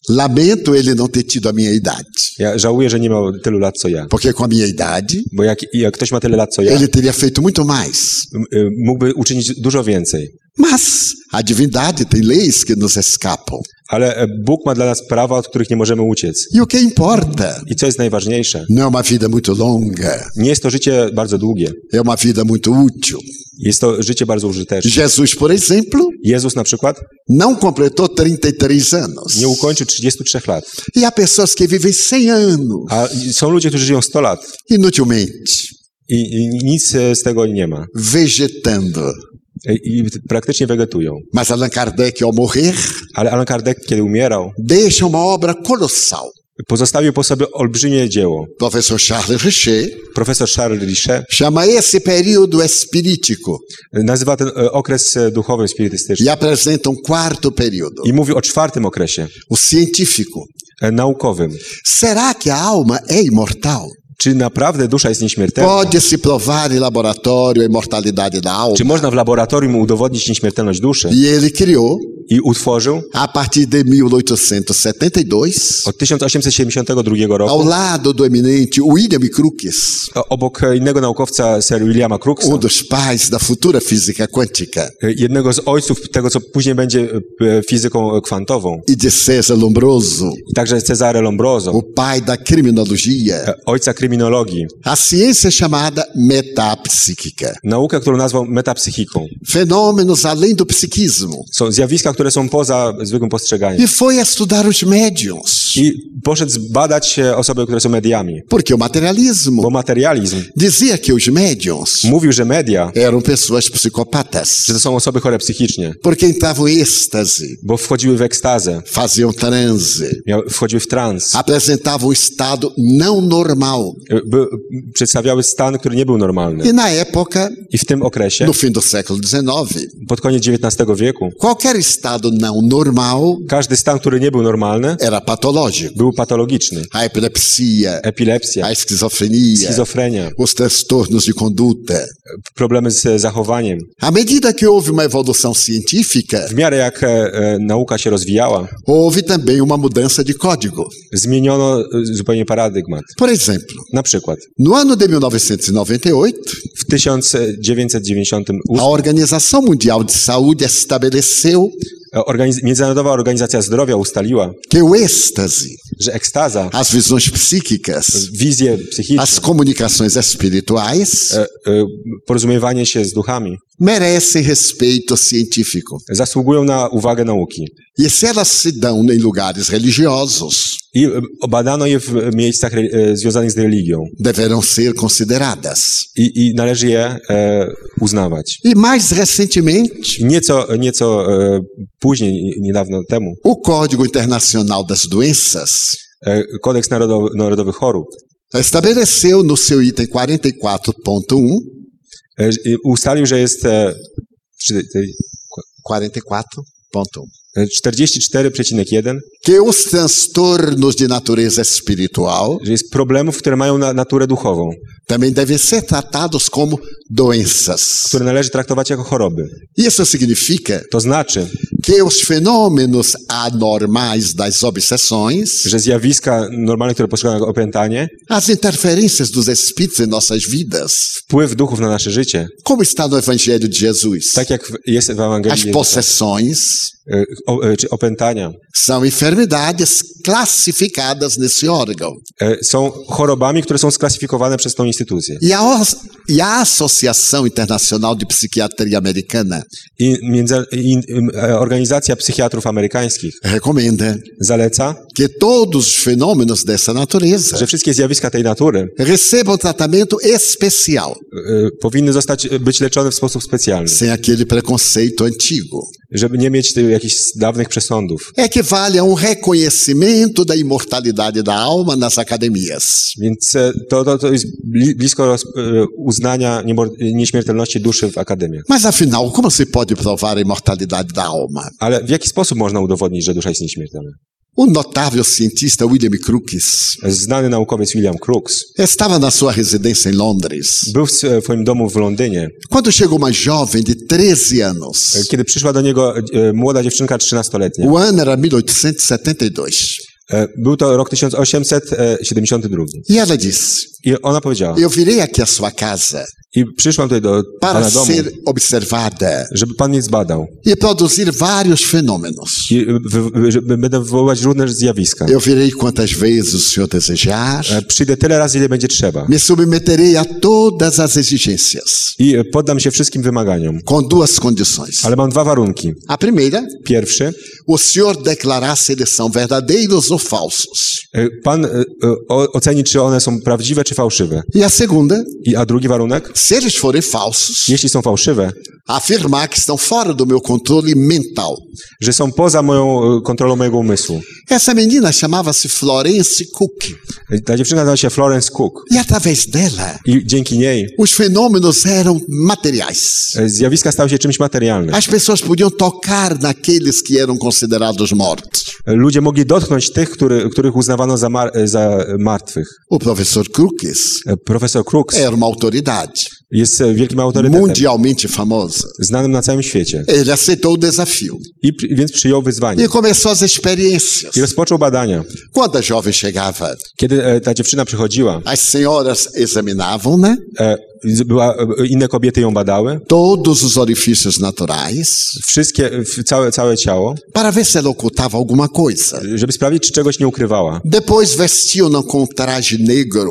Speaker 4: Lamento ele não ter tido a minha idade.
Speaker 3: Ja żałuję, że nie miał tylu lat co ja.
Speaker 4: Porque com a minha idade,
Speaker 3: Bo jak, jak ktoś ma tyle lat co ja,
Speaker 4: ele teria feito muito mais.
Speaker 3: m- y, mógłby uczynić dużo więcej.
Speaker 4: Mas a divindade tem leis que nos escapam.
Speaker 3: Ale e, Bóg ma dla nas prawa, od których nie możemy uciec.
Speaker 4: E o que importa?
Speaker 3: I co jest najważniejsze?
Speaker 4: Não é uma vida muito longa,
Speaker 3: Nie jest to życie bardzo długie.
Speaker 4: é uma vida muito útil.
Speaker 3: Jest to życie bardzo użyteczne.
Speaker 4: Jesus, por exemplo,
Speaker 3: Jezus na przykład
Speaker 4: não completou 33 anos.
Speaker 3: nie ukończył 33 lat.
Speaker 4: E há pessoas que vivem 100 anos,
Speaker 3: A są ludzie, którzy żyją 100 lat
Speaker 4: inutilmente,
Speaker 3: i, i nic e, z tego nie ma. E,
Speaker 4: vegetando.
Speaker 3: I, I praktycznie wegetują.
Speaker 4: Mas Allan Kardec, ao morrer,
Speaker 3: Ale Allan Kardec, kiedy umierał,
Speaker 4: deixa uma obra colossal.
Speaker 3: pozostawił po sobie olbrzymie dzieło.
Speaker 4: O professor Charles Richer
Speaker 3: Profesor Charles e, Richet
Speaker 4: chama esse período espirítico
Speaker 3: nazywa ten e, okres e, duchowy, spirytystyczny
Speaker 4: e apresenta um quarto período,
Speaker 3: i mówi o czwartym okresie,
Speaker 4: o científico.
Speaker 3: e, naukowym.
Speaker 4: Será que a alma é imortal?
Speaker 3: Czy naprawdę dusza jest nieśmiertelna?
Speaker 4: Pode-se provar em laboratório a imortalidade da alma?
Speaker 3: Czy można w laboratorium udowodnić nieśmiertelność duszy?
Speaker 4: E ele criou,
Speaker 3: I utworzył
Speaker 4: a partir de 1872,
Speaker 3: od 1872 roku
Speaker 4: ao lado do eminente William Crookes,
Speaker 3: o- obok e, innego naukowca, Sir Williama Crookesa,
Speaker 4: um dos pais da futura física quântica,
Speaker 3: e, jednego z ojców tego, co później będzie e, fizyką kwantową,
Speaker 4: e de César Lombroso,
Speaker 3: i także Cezare Lombroso,
Speaker 4: o pai da criminologia.
Speaker 3: e, ojca kryminologii.
Speaker 4: A ciência é chamada metapsíquica.
Speaker 3: Naukę, którą nazwał metapsychiką.
Speaker 4: Fenômenos além do psiquismo.
Speaker 3: Są zjawiska, które są poza zwykłym postrzeganiem.
Speaker 4: E foi estudar os médiums.
Speaker 3: I poszedł zbadać e, osoby, które są mediami.
Speaker 4: Porque o
Speaker 3: Bo
Speaker 4: materialismo
Speaker 3: materializm
Speaker 4: dizia que os médiums
Speaker 3: mówił, że media,
Speaker 4: eram pessoas psicopatas.
Speaker 3: że to są osoby chore psychicznie,
Speaker 4: Porque entravam em êxtase,
Speaker 3: bo wchodziły w ekstazę,
Speaker 4: faziam transe,
Speaker 3: miały- wchodziły w trans,
Speaker 4: apresentavam um estado não normal.
Speaker 3: e, by, przedstawiały stan, który nie był normalny.
Speaker 4: E na época,
Speaker 3: I w tym okresie,
Speaker 4: no fim do século XIX,
Speaker 3: pod koniec XIX wieku,
Speaker 4: qualquer estado não normal
Speaker 3: Każdy stan, który nie był normalny,
Speaker 4: era patológico.
Speaker 3: był patologiczny.
Speaker 4: A epilepsia,
Speaker 3: Epilepsja,
Speaker 4: a esquizofrenia,
Speaker 3: schizofrenia,
Speaker 4: os transtornos de conduta.
Speaker 3: problemy z zachowaniem.
Speaker 4: À medida que houve uma evolução científica,
Speaker 3: W miarę jak e, e, nauka się rozwijała,
Speaker 4: houve também uma mudança de código.
Speaker 3: zmieniono e, zupełnie paradygmat.
Speaker 4: Por exemplo,
Speaker 3: Na przykład
Speaker 4: no ano de 1998,
Speaker 3: w 1998
Speaker 4: a Organização Mundial de Saúde estabeleceu
Speaker 3: organiz- Międzynarodowa Organizacja Zdrowia ustaliła,
Speaker 4: que o êxtase,
Speaker 3: że ekstaza,
Speaker 4: as visões psíquicas,
Speaker 3: wizje psychiczne,
Speaker 4: as comunicações espirituais
Speaker 3: e, e, porozumiewanie się z duchami
Speaker 4: merecem respeito científico.
Speaker 3: zasługują na uwagę nauki.
Speaker 4: E se elas se dão em lugares religiosos,
Speaker 3: I e, badano je w miejscach re- e, związanych z religią
Speaker 4: deverão ser consideradas.
Speaker 3: i, i należy je e, uznawać.
Speaker 4: E mais recentemente,
Speaker 3: Nieco, nieco e, później, nie- niedawno temu,
Speaker 4: o Código Internacional das Doenças
Speaker 3: e, Kodeks Narodowy, Narodowych Chorób
Speaker 4: Então, estabeleceu no seu item 44.1,
Speaker 3: e, ż- i ustalił, że jest e, przy tej
Speaker 4: 44.1,
Speaker 3: e, 44,1,
Speaker 4: que os transtornos de natureza espiritual
Speaker 3: że jest problemów, które mają na, naturę duchową,
Speaker 4: também devem ser tratados como doenças.
Speaker 3: które należy traktować jako choroby.
Speaker 4: Isso significa
Speaker 3: To znaczy,
Speaker 4: que os fenômenos anormais das obsessões
Speaker 3: że zjawiska normalne, które postrzegamy jako opętanie,
Speaker 4: As interferências dos Espíritos em nossas vidas,
Speaker 3: wpływ duchów na nasze życie,
Speaker 4: como está no Evangelho de Jesus,
Speaker 3: tak jak w- jest w
Speaker 4: as
Speaker 3: Ewangelii, Jezusa,
Speaker 4: possessões
Speaker 3: e, o, e, czy opętania,
Speaker 4: são enfermidades classificadas nesse órgão.
Speaker 3: e, są chorobami, które są sklasyfikowane przez tą instytucję.
Speaker 4: E a, os- e a Associação Internacional de Psiquiatria Americana
Speaker 3: I między, i, im, e, Organizacja Psychiatrów Amerykańskich
Speaker 4: recomenda
Speaker 3: zaleca,
Speaker 4: que todos os fenômenos dessa natureza
Speaker 3: że wszystkie zjawiska tej natury
Speaker 4: recebam tratamento especial,
Speaker 3: e, powinny zostać, być leczone w sposób specjalny,
Speaker 4: sem aquele preconceito antigo.
Speaker 3: żeby nie mieć tych jakichś dawnych przesądów.
Speaker 4: Equivale a um reconhecimento da imortalidade da alma nas academias.
Speaker 3: Więc e, to, to, to jest bli- blisko roz, e, uznania niemor- nieśmiertelności duszy w akademiach.
Speaker 4: Mas afinal, como se pode provar a imortalidade da alma?
Speaker 3: Ale w jaki sposób można udowodnić, że dusza jest nieśmiertelna?
Speaker 4: O notável cientista William Crookes
Speaker 3: Znany naukowiec William Crookes
Speaker 4: estava na sua residência em Londres
Speaker 3: był w swoim domu w Londynie,
Speaker 4: quando chegou uma jovem de 13 anos.
Speaker 3: kiedy przyszła do niego e, młoda dziewczynka 13-letnia.
Speaker 4: O ano era 1872.
Speaker 3: E, Był to rok 1872.
Speaker 4: E ela disse:
Speaker 3: I ona powiedziała,
Speaker 4: Eu virei aqui à sua casa
Speaker 3: i przyszłam tutaj do
Speaker 4: para
Speaker 3: pana domu,
Speaker 4: ser observada
Speaker 3: żeby pan mnie zbadał.
Speaker 4: e produzir vários fenômenos.
Speaker 3: I wy- wy- że będę wywoływać różne zjawiska.
Speaker 4: Eu virei quantas vezes o senhor desejar,
Speaker 3: E, Przyjdę tyle razy, ile będzie trzeba.
Speaker 4: me submeterei a todas as exigências,
Speaker 3: I e, poddam się wszystkim wymaganiom.
Speaker 4: com duas condições.
Speaker 3: Ale mam dwa warunki.
Speaker 4: A primeira
Speaker 3: Pierwszy,
Speaker 4: o senhor declarar se eles são verdadeiros ou falsos.
Speaker 3: e, pan e, e, o- oceni, czy one są prawdziwe, czy fałszywe.
Speaker 4: E a segunda,
Speaker 3: I, a drugi warunek,
Speaker 4: se eles forem falsos,
Speaker 3: jeśli są fałszywe,
Speaker 4: afirmar que estão fora do meu controle mental.
Speaker 3: że są poza moją e, kontrolą mojego umysłu.
Speaker 4: Essa menina chamava-se Florence Cook.
Speaker 3: E, Ta dziewczyna nazywa się Florence Cook
Speaker 4: E através dela,
Speaker 3: i dzięki niej
Speaker 4: os fenômenos eram materiais.
Speaker 3: e, zjawiska stały się czymś materialnym.
Speaker 4: As pessoas podiam tocar naqueles que eram considerados mortos.
Speaker 3: E, Ludzie mogli dotknąć tych, który, których uznawano za, mar- e, za martwych.
Speaker 4: O professor Crookes
Speaker 3: E, Profesor Crooks
Speaker 4: era uma autoridade
Speaker 3: jest e, wielkim autorytetem,
Speaker 4: mundialmente famosa.
Speaker 3: znanym na całym świecie,
Speaker 4: Ele aceitou o desafio
Speaker 3: I, przy- więc przyjął wyzwanie
Speaker 4: e começou as experiências.
Speaker 3: i rozpoczął badania.
Speaker 4: Quando a jovem chegava,
Speaker 3: Kiedy e, ta dziewczyna przychodziła,
Speaker 4: as senhoras examinavam, né?
Speaker 3: e, z- była, e, inne kobiety ją badały,
Speaker 4: Todos os orifícios naturais
Speaker 3: wszystkie, w- całe, całe ciało,
Speaker 4: para ver se ela ocultava alguma coisa.
Speaker 3: żeby sprawdzić, czy czegoś nie ukrywała.
Speaker 4: Depois vestiam-na com um traje negro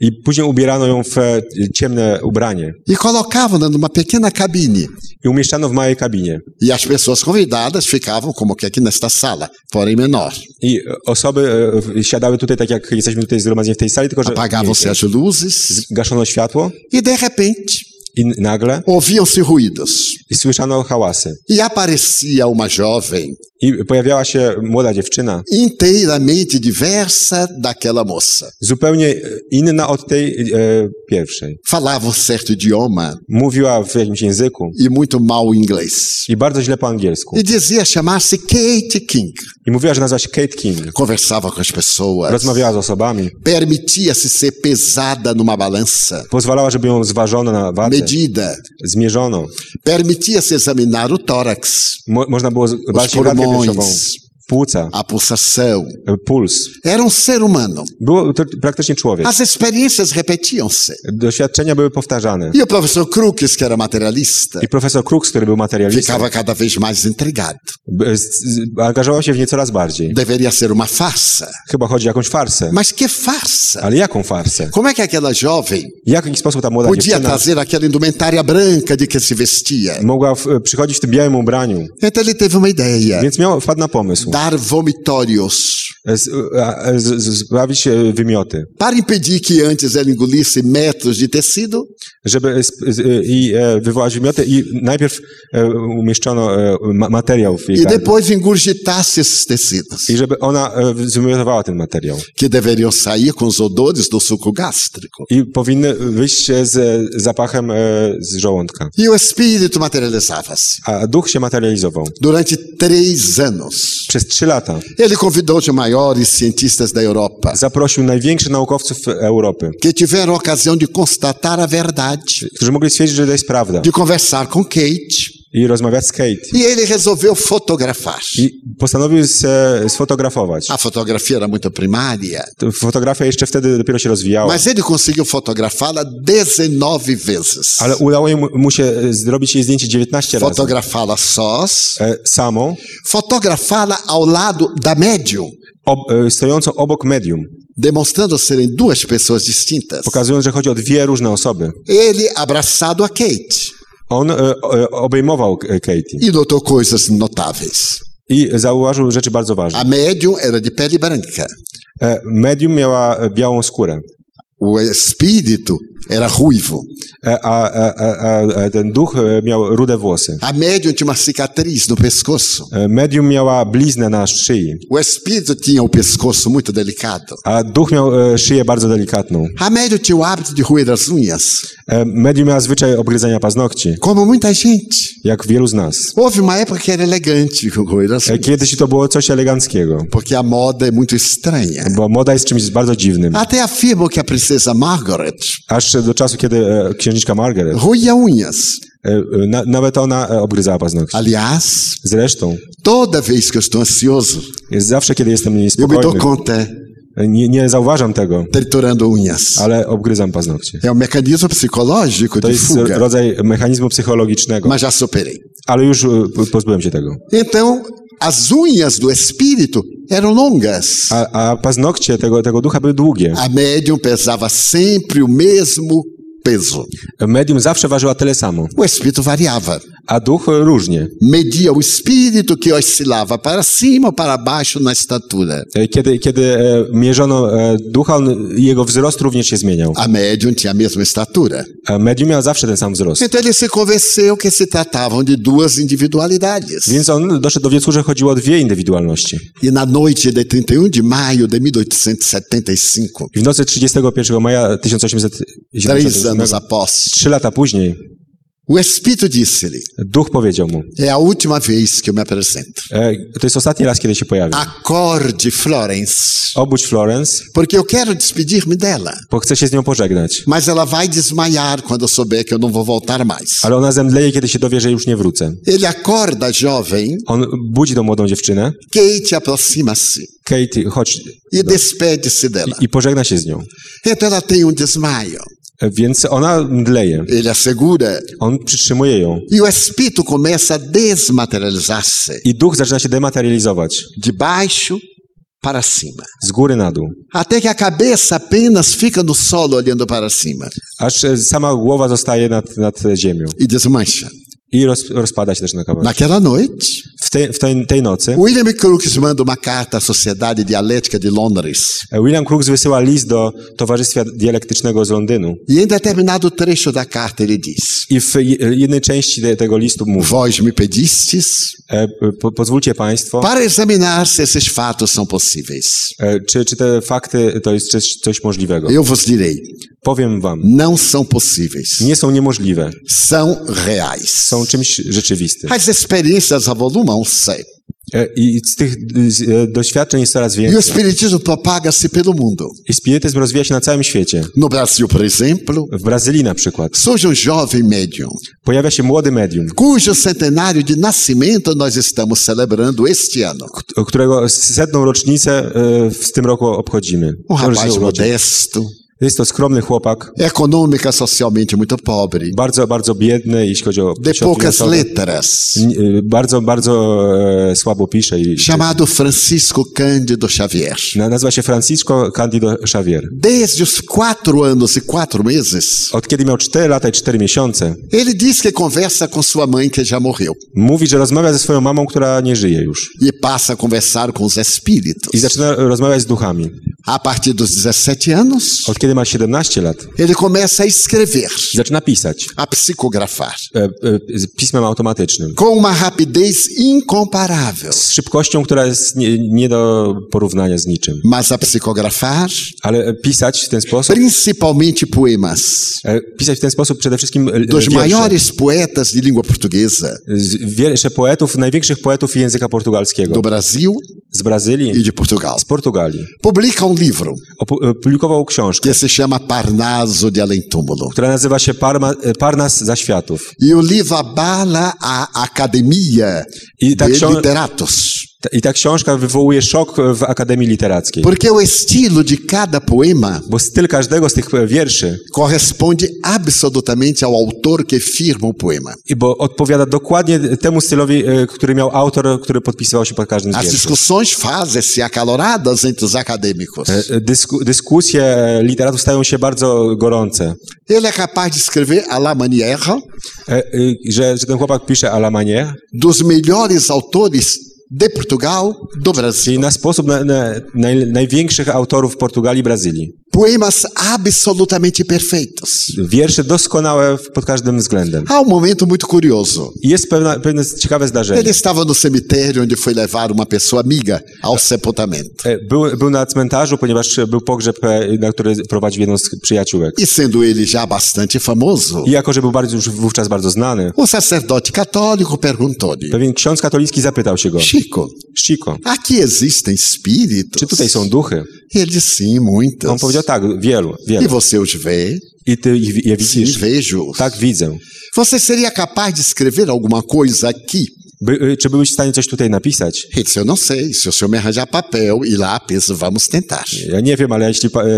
Speaker 3: I później ubierano ją w e, ciemne ubranie
Speaker 4: e colocavam-na numa pequena cabine.
Speaker 3: i umieszczano w małej kabinie.
Speaker 4: E as pessoas convidadas ficavam, como que aqui nesta sala, porém menor.
Speaker 3: I osoby e, w- siadały tutaj, tak jak jesteśmy tutaj zgromadzeni w tej sali, tylko że
Speaker 4: Apagavam-se as luzes
Speaker 3: gaszono światło
Speaker 4: e, de repente,
Speaker 3: I nagle
Speaker 4: ouviam-se ruídos.
Speaker 3: słyszano hałasy.
Speaker 4: E aparecia uma jovem
Speaker 3: I pojawiała się młoda dziewczyna,
Speaker 4: inteiramente diversa daquela moça.
Speaker 3: zupełnie inna od tej e, pierwszej.
Speaker 4: Falava um certo idioma
Speaker 3: Mówiła w jakimś języku
Speaker 4: e muito mal inglês.
Speaker 3: i bardzo źle po angielsku.
Speaker 4: E dizia chamar-se Kate King.
Speaker 3: I mówiła, że nazywa się Kate King.
Speaker 4: Conversava com as pessoas.
Speaker 3: Rozmawiała z osobami,
Speaker 4: Permitia-se ser pesada numa balança.
Speaker 3: pozwalała, żeby ją zważono na wadze,
Speaker 4: Medida.
Speaker 3: zmierzono.
Speaker 4: Permitia-se examinar o tórax,
Speaker 3: Mo można było z- bać się klatkę
Speaker 4: pulmões.
Speaker 3: piersiową, płuca,
Speaker 4: a pulsação.
Speaker 3: e, puls.
Speaker 4: Era um ser humano.
Speaker 3: Było to praktycznie człowiek.
Speaker 4: As experiências repetiam-se.
Speaker 3: Doświadczenia były powtarzane.
Speaker 4: E o professor Crookes, que era materialista,
Speaker 3: I profesor Crooks, który był materialistą,
Speaker 4: ficava cada vez mais intrigado.
Speaker 3: b- z- z- angażował się w nie coraz bardziej.
Speaker 4: Deveria ser uma farsa.
Speaker 3: Chyba chodzi o jakąś farsę.
Speaker 4: Mas que farsa!
Speaker 3: Ale jaką farsę?
Speaker 4: Como é que aquela jovem
Speaker 3: W jaki sposób ta młoda
Speaker 4: podia
Speaker 3: dziewczyna
Speaker 4: trazer aquela indumentária branca de que se vestia?
Speaker 3: mogła w, przychodzić w tym białym ubraniu?
Speaker 4: Então ele teve uma ideia:
Speaker 3: Więc miał, wpadł na pomysł.
Speaker 4: dar vomitórios
Speaker 3: Z, a- z, z, sprawić e, wymioty.
Speaker 4: para impedir que antes ela engolisse metros de tecido.
Speaker 3: Żeby sp- z, e, i e, wywołać wymioty i najpierw e, umieszczono e, ma, materiał w jej
Speaker 4: E
Speaker 3: gardle.
Speaker 4: depois engurgitasse esses tecidos,
Speaker 3: I żeby ona e, wymiotowała ten materiał.
Speaker 4: que deveriam sair com os odores do suco gástrico.
Speaker 3: I powinny wyjść się z e, zapachem e, z żołądka.
Speaker 4: E o espírito materializava-se.
Speaker 3: A duch się materializował.
Speaker 4: Durante três anos,
Speaker 3: Przez trzy lata
Speaker 4: ele convidou os maiores cientistas da Europa,
Speaker 3: zaprosił największych naukowców Europy,
Speaker 4: que tiveram a ocasião de constatar a verdade,
Speaker 3: którzy mogli stwierdzić, że to jest prawda.
Speaker 4: de conversar com Kate,
Speaker 3: I rozmawiać z Kate.
Speaker 4: e ele resolveu fotografar.
Speaker 3: I postanowił se sfotografować.
Speaker 4: A fotografia era muito primária,
Speaker 3: To Fotografia jeszcze wtedy dopiero się rozwijała.
Speaker 4: mas ele conseguiu fotografá-la 19 vezes.
Speaker 3: Ale udało jej mu- mu się e, zrobić jej zdjęcie 19 razy.
Speaker 4: Fotografá-la sós,
Speaker 3: E, Samą,
Speaker 4: fotografá-la ao lado da médium,
Speaker 3: ob, e, stojącą obok medium,
Speaker 4: demonstrando serem duas pessoas distintas.
Speaker 3: pokazując, że chodzi o dwie różne osoby.
Speaker 4: Ele abraçado a Kate
Speaker 3: On e, e, obejmował e, Katie
Speaker 4: e notou coisas notáveis.
Speaker 3: i zauważył rzeczy bardzo
Speaker 4: A
Speaker 3: ważne.
Speaker 4: médium era de pele branca.
Speaker 3: E, Medium miała e, białą skórę,
Speaker 4: O espírito era ruivo.
Speaker 3: e, a, a, a, a ten duch e, miał rude włosy.
Speaker 4: A médium tinha uma cicatriz no pescoço.
Speaker 3: E, Medium miała bliznę na szyi,
Speaker 4: O espírito tinha o pescoço muito delicado.
Speaker 3: a duch miał e, szyję bardzo delikatną.
Speaker 4: A médium tinha o hábito de roer as unhas,
Speaker 3: E, Medium miała zwyczaj obgryzania paznokci,
Speaker 4: como muita gente.
Speaker 3: jak wielu z nas.
Speaker 4: Houve uma época que era elegante *laughs* roer as
Speaker 3: E,
Speaker 4: unhas,
Speaker 3: Kiedyś to było coś eleganckiego,
Speaker 4: porque a moda é muito estranha.
Speaker 3: bo moda jest czymś bardzo dziwnym.
Speaker 4: Até afirmam que a princesa Margaret
Speaker 3: Aż do czasu, kiedy e, księżniczka Margaret,
Speaker 4: roía unhas.
Speaker 3: e, e, na, nawet ona e, obgryzała paznokcie.
Speaker 4: Aliás,
Speaker 3: Zresztą,
Speaker 4: toda vez que eu estou ansioso,
Speaker 3: jest zawsze, kiedy jestem
Speaker 4: eu me dou
Speaker 3: niespokojny,
Speaker 4: conta
Speaker 3: e, nie, nie zauważam tego,
Speaker 4: triturando unhas.
Speaker 3: ale obgryzam paznokcie.
Speaker 4: É um mecanismo psicológico
Speaker 3: To
Speaker 4: de
Speaker 3: jest e,
Speaker 4: fuga.
Speaker 3: rodzaj mechanizmu psychologicznego,
Speaker 4: mas já superei.
Speaker 3: ale już e, pozbyłem się tego.
Speaker 4: Então, as unhas do espírito eram longas.
Speaker 3: A, a paznokcie tego, tego ducha były długie.
Speaker 4: A médium pesava sempre o mesmo peso.
Speaker 3: Medium zawsze ważyła tyle samo,
Speaker 4: O espírito variava.
Speaker 3: a duch e, różnie.
Speaker 4: Media o espírito que oscilava para cima ou para baixo na estatura.
Speaker 3: E, Kiedy, kiedy e, mierzono e, ducha, on, jego wzrost również się zmieniał.
Speaker 4: A médium tinha a mesma estatura.
Speaker 3: A medium miał zawsze ten sam wzrost.
Speaker 4: Então ele se convenceu que se tratavam de duas individualidades.
Speaker 3: Więc on doszedł do wniosku, że chodziło o dwie indywidualności.
Speaker 4: E na noite de 31 de maio de 1875,
Speaker 3: I w nocy 31 maja
Speaker 4: três anos
Speaker 3: 1877,
Speaker 4: após,
Speaker 3: trzy lata później,
Speaker 4: o espírito disse-lhe:
Speaker 3: duch powiedział mu,
Speaker 4: É a última vez que eu me apresento.
Speaker 3: e, to jest ostatni raz, kiedy się pojawi.
Speaker 4: Tak. Acorde, Florence,
Speaker 3: Obudź Florence,
Speaker 4: porque eu quero despedir-me dela.
Speaker 3: bo chcę się z nią pożegnać.
Speaker 4: Mas ela vai desmaiar quando eu souber que eu não vou voltar mais.
Speaker 3: Ale ona zemdleje, kiedy się dowie, że już nie wrócę.
Speaker 4: Ele acorda a jovem,
Speaker 3: On budzi tą młodą dziewczynę.
Speaker 4: Kate aproxima-se
Speaker 3: Katie, chodź.
Speaker 4: e despede-se dela.
Speaker 3: I pożegna się z nią.
Speaker 4: Então ela tem um desmaio.
Speaker 3: E, Więc ona mdleje.
Speaker 4: Ele a segura
Speaker 3: On przytrzymuje ją.
Speaker 4: e o espírito começa a desmaterializar-se
Speaker 3: I duch zaczyna się dematerializować.
Speaker 4: de baixo para cima.
Speaker 3: Z góry na dół.
Speaker 4: Até que a cabeça apenas fica no solo olhando para cima
Speaker 3: Aż e, sama głowa zostaje nad, nad ziemią.
Speaker 4: e desmancha.
Speaker 3: I roz, rozpada się też na kawałek.
Speaker 4: Naquela noite,
Speaker 3: W tej, w tej, tej nocy
Speaker 4: William Crookes manda uma carta à Sociedade Dialética de Londres.
Speaker 3: e, William Crookes wysyła list do Towarzystwa Dialektycznego z Londynu
Speaker 4: E em determinado trecho da carta ele diz:
Speaker 3: i w jednej części te, tego listu mówi
Speaker 4: Vós me pedistes
Speaker 3: e, po, pozwólcie państwo,
Speaker 4: para examinar se esses fatos são possíveis.
Speaker 3: e, czy, czy te fakty to jest coś, coś możliwego.
Speaker 4: Eu vos direi:
Speaker 3: Powiem wam,
Speaker 4: não são possíveis,
Speaker 3: nie są niemożliwe,
Speaker 4: são reais.
Speaker 3: są czymś rzeczywistym.
Speaker 4: As experiências avolumam-se
Speaker 3: E, I z tych z, e, doświadczeń jest coraz
Speaker 4: e o
Speaker 3: więcej.
Speaker 4: espiritismo propaga-se pelo mundo.
Speaker 3: I spirytyzm rozwija się na całym świecie.
Speaker 4: No Brasil, por exemplo,
Speaker 3: W Brazylii na przykład
Speaker 4: surge um jovem médium,
Speaker 3: pojawia się młody medium,
Speaker 4: cujo centenário de nascimento nós estamos celebrando este ano.
Speaker 3: k- którego setną rocznicę e, w tym roku obchodzimy.
Speaker 4: Um
Speaker 3: To już się
Speaker 4: rapaz
Speaker 3: urodził.
Speaker 4: modesto,
Speaker 3: Jest to skromny chłopak,
Speaker 4: econômica, socialmente muito pobre,
Speaker 3: bardzo, bardzo biedny, jeśli chodzi o
Speaker 4: de
Speaker 3: środki
Speaker 4: poucas
Speaker 3: finansowe.
Speaker 4: letras,
Speaker 3: N- e, Bardzo, bardzo e, słabo pisze. I,
Speaker 4: chamado Francisco Cândido Xavier.
Speaker 3: na, nazywa się Francisco Candido Xavier.
Speaker 4: Desde os quatro anos e quatro meses,
Speaker 3: Od kiedy miał 4 lata i 4 miesiące,
Speaker 4: ele diz que conversa com sua mãe que já morreu
Speaker 3: mówi, że rozmawia ze swoją mamą, która nie żyje już.
Speaker 4: e passa a conversar com os espíritos.
Speaker 3: I zaczyna rozmawiać z duchami.
Speaker 4: A partir dos 17 anos,
Speaker 3: Od kiedy ma 17 lat,
Speaker 4: ele começa a escrever,
Speaker 3: zaczyna pisać
Speaker 4: a psicografar,
Speaker 3: e, e, z pismem automatycznym.
Speaker 4: com uma rapidez incomparável.
Speaker 3: Z szybkością, która jest nie, nie do porównania z niczym.
Speaker 4: Mas a psicografar,
Speaker 3: Ale e, pisać w ten sposób,
Speaker 4: principalmente poemas,
Speaker 3: e, pisać w ten sposób przede wszystkim e,
Speaker 4: dos
Speaker 3: wiersze.
Speaker 4: maiores poetas de língua portuguesa
Speaker 3: Z- Wiersze poetów, największych poetów języka portugalskiego.
Speaker 4: do Brasil
Speaker 3: Z
Speaker 4: e
Speaker 3: Brazylii,
Speaker 4: de Portugal,
Speaker 3: z Portugalii.
Speaker 4: publica um livro
Speaker 3: Opu- Opublikował książkę,
Speaker 4: que se chama Parnaso de Além Túmulo.
Speaker 3: która nazywa się Parma, e, Parnas za światów.
Speaker 4: E o livro abala a academia
Speaker 3: I ta,
Speaker 4: de
Speaker 3: ksią-
Speaker 4: literatos.
Speaker 3: ta- I ta książka wywołuje szok w Akademii Literackiej.
Speaker 4: Porque o estilo de cada poema
Speaker 3: Bo styl każdego z tych e, wierszy,
Speaker 4: corresponde absolutamente ao autor que firma o poema.
Speaker 3: i bo odpowiada dokładnie temu stylowi, e, który miał autor, który podpisywał się pod każdym z
Speaker 4: As
Speaker 3: wierszy.
Speaker 4: discussões fazem-se acaloradas entre os acadêmicos.
Speaker 3: E, Dysku, dyskusje e, literatów stają się bardzo gorące.
Speaker 4: Ele é capaz de escrever à la manière
Speaker 3: E, e, Że, że ten chłopak pisze à la manière,
Speaker 4: dos melhores autores de Portugal, do Brasil.
Speaker 3: czyli na sposób na, na, naj, największych autorów Portugalii i Brazylii.
Speaker 4: Poemas absolutamente perfeitos.
Speaker 3: Wiersze doskonałe w- pod każdym względem.
Speaker 4: Há um momento muito curioso.
Speaker 3: I Jest pewna, pewne ciekawe
Speaker 4: Ele
Speaker 3: zdarzenie.
Speaker 4: estava no cemitério onde foi levar uma pessoa amiga ao sepultamento.
Speaker 3: E, Był, był na cmentarzu, ponieważ był pogrzeb, e, na który prowadził jedną z przyjaciółek.
Speaker 4: E sendo ele já bastante famoso,
Speaker 3: I jako, że był bardzo, już wówczas bardzo znany,
Speaker 4: o sacerdote católico perguntou-lhe:
Speaker 3: pewien ksiądz katolicki zapytał się go,
Speaker 4: Chico,
Speaker 3: Chico,
Speaker 4: aqui existem espíritos?
Speaker 3: czy tutaj są duchy?
Speaker 4: Ele disse, sim, muitas.
Speaker 3: On powiedział tak, wielu,
Speaker 4: E
Speaker 3: wielu.
Speaker 4: você os vê?
Speaker 3: I ty ich- je
Speaker 4: Sim,
Speaker 3: widzisz?
Speaker 4: vejo.
Speaker 3: Tak, widzę.
Speaker 4: Você seria capaz de escrever alguma coisa aqui?
Speaker 3: By, y, czy byłeś w stanie coś tutaj napisać?
Speaker 4: Ele disse, eu não sei. Se o senhor me arranjar papel e lápis, vamos tentar.
Speaker 3: Ja nie wiem, ale jeśli pa, e,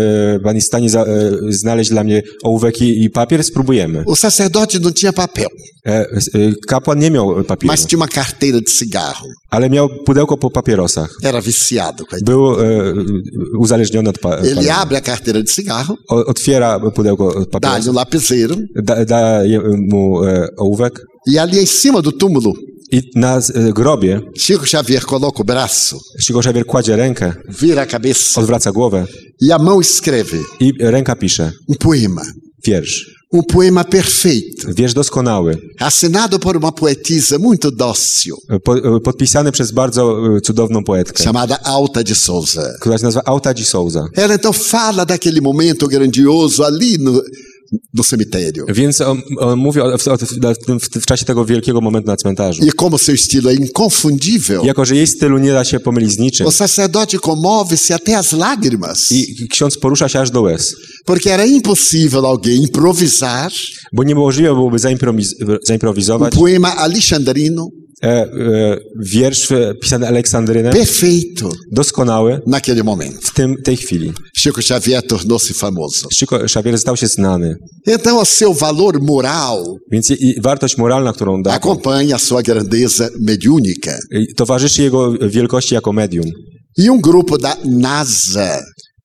Speaker 3: pan jest w stanie za, e, znaleźć dla mnie ołówek i, i papier, spróbujemy.
Speaker 4: O sacerdote não tinha papel,
Speaker 3: E, s- e, kapłan nie miał papieru,
Speaker 4: mas tinha uma carteira de cigarro.
Speaker 3: ale miał pudełko po papierosach.
Speaker 4: Era viciado. coitado.
Speaker 3: Był e, uzależniony od pa,
Speaker 4: Ele
Speaker 3: pana.
Speaker 4: abre a carteira de cigarro,
Speaker 3: O, otwiera pudełko od
Speaker 4: dá-lhe
Speaker 3: papierosa,
Speaker 4: um lapiseiro,
Speaker 3: da, daje mu e, ołówek
Speaker 4: e ali em cima do túmulo,
Speaker 3: i na z- e, grobie
Speaker 4: Chico Xavier coloca o braço,
Speaker 3: Chico Xavier kładzie rękę,
Speaker 4: vira a cabeça
Speaker 3: odwraca głowę
Speaker 4: e a mão escreve
Speaker 3: i ręka pisze
Speaker 4: um poema.
Speaker 3: wiersz.
Speaker 4: Um poema perfeito,
Speaker 3: Wiersz doskonały,
Speaker 4: assinado por uma poetisa muito dócil,
Speaker 3: po, podpisany przez bardzo e, cudowną poetkę,
Speaker 4: chamada Alta de Souza.
Speaker 3: która się nazywa Alta de Souza.
Speaker 4: Ela então fala daquele momento grandioso ali no, no cemitério.
Speaker 3: Więc on, on mówi o, w, o, w, tym- w, w czasie tego wielkiego momentu na cmentarzu.
Speaker 4: E como seu estilo é inconfundível,
Speaker 3: Jako, że jej stylu nie da się pomylić z niczym.
Speaker 4: o sacerdote comove-se até as lágrimas,
Speaker 3: I ksiądz porusza się aż do łez,
Speaker 4: porque era impossível alguém improvisar
Speaker 3: bo niemożliwe byłoby zaimprowiz-
Speaker 4: um
Speaker 3: zaimprowizować
Speaker 4: poema alexandrino
Speaker 3: e, e, wiersz e, pisany Aleksandrynem,
Speaker 4: perfeito
Speaker 3: doskonały
Speaker 4: naquele momento.
Speaker 3: w tym, tej chwili.
Speaker 4: Chico Xavier tornou-se famoso.
Speaker 3: Chico Xavier stał się znany,
Speaker 4: Então, o seu valor moral
Speaker 3: więc i, i wartość moralna, którą
Speaker 4: Tak.
Speaker 3: da,
Speaker 4: acompanha a sua grandeza mediúnica.
Speaker 3: i towarzyszy jego wielkości jako medium.
Speaker 4: E um grupo da NASA,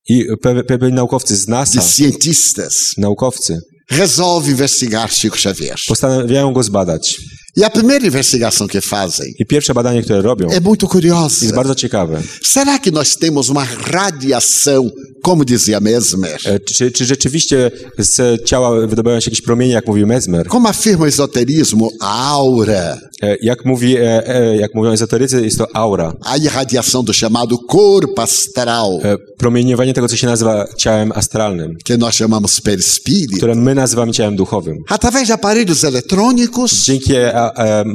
Speaker 3: I pe- pewni naukowcy z NASA,
Speaker 4: de cientistas,
Speaker 3: naukowcy,
Speaker 4: resolve investigar Chico Xavier.
Speaker 3: postanawiają go zbadać.
Speaker 4: E a primeira investigação que fazem
Speaker 3: I pierwsze badanie, które robią,
Speaker 4: é muito
Speaker 3: jest
Speaker 4: curiosa.
Speaker 3: bardzo ciekawe.
Speaker 4: Será que nós temos uma radiação, como dizia Mesmer?
Speaker 3: E, Czy, czy rzeczywiście z ciała wydobywają się jakieś promienie, jak mówił Mesmer?
Speaker 4: Como afirma o esoterismo, a aura,
Speaker 3: E, Jak, mówi, e, e, jak mówią ezoterycy, jest to aura.
Speaker 4: a irradiação do chamado corpo astral,
Speaker 3: E, Promieniowanie tego, co się nazywa ciałem astralnym,
Speaker 4: que nós chamamos perispírito,
Speaker 3: które my nazywamy ciałem duchowym.
Speaker 4: através de aparelhos eletrônicos,
Speaker 3: Dzięki e, e, m-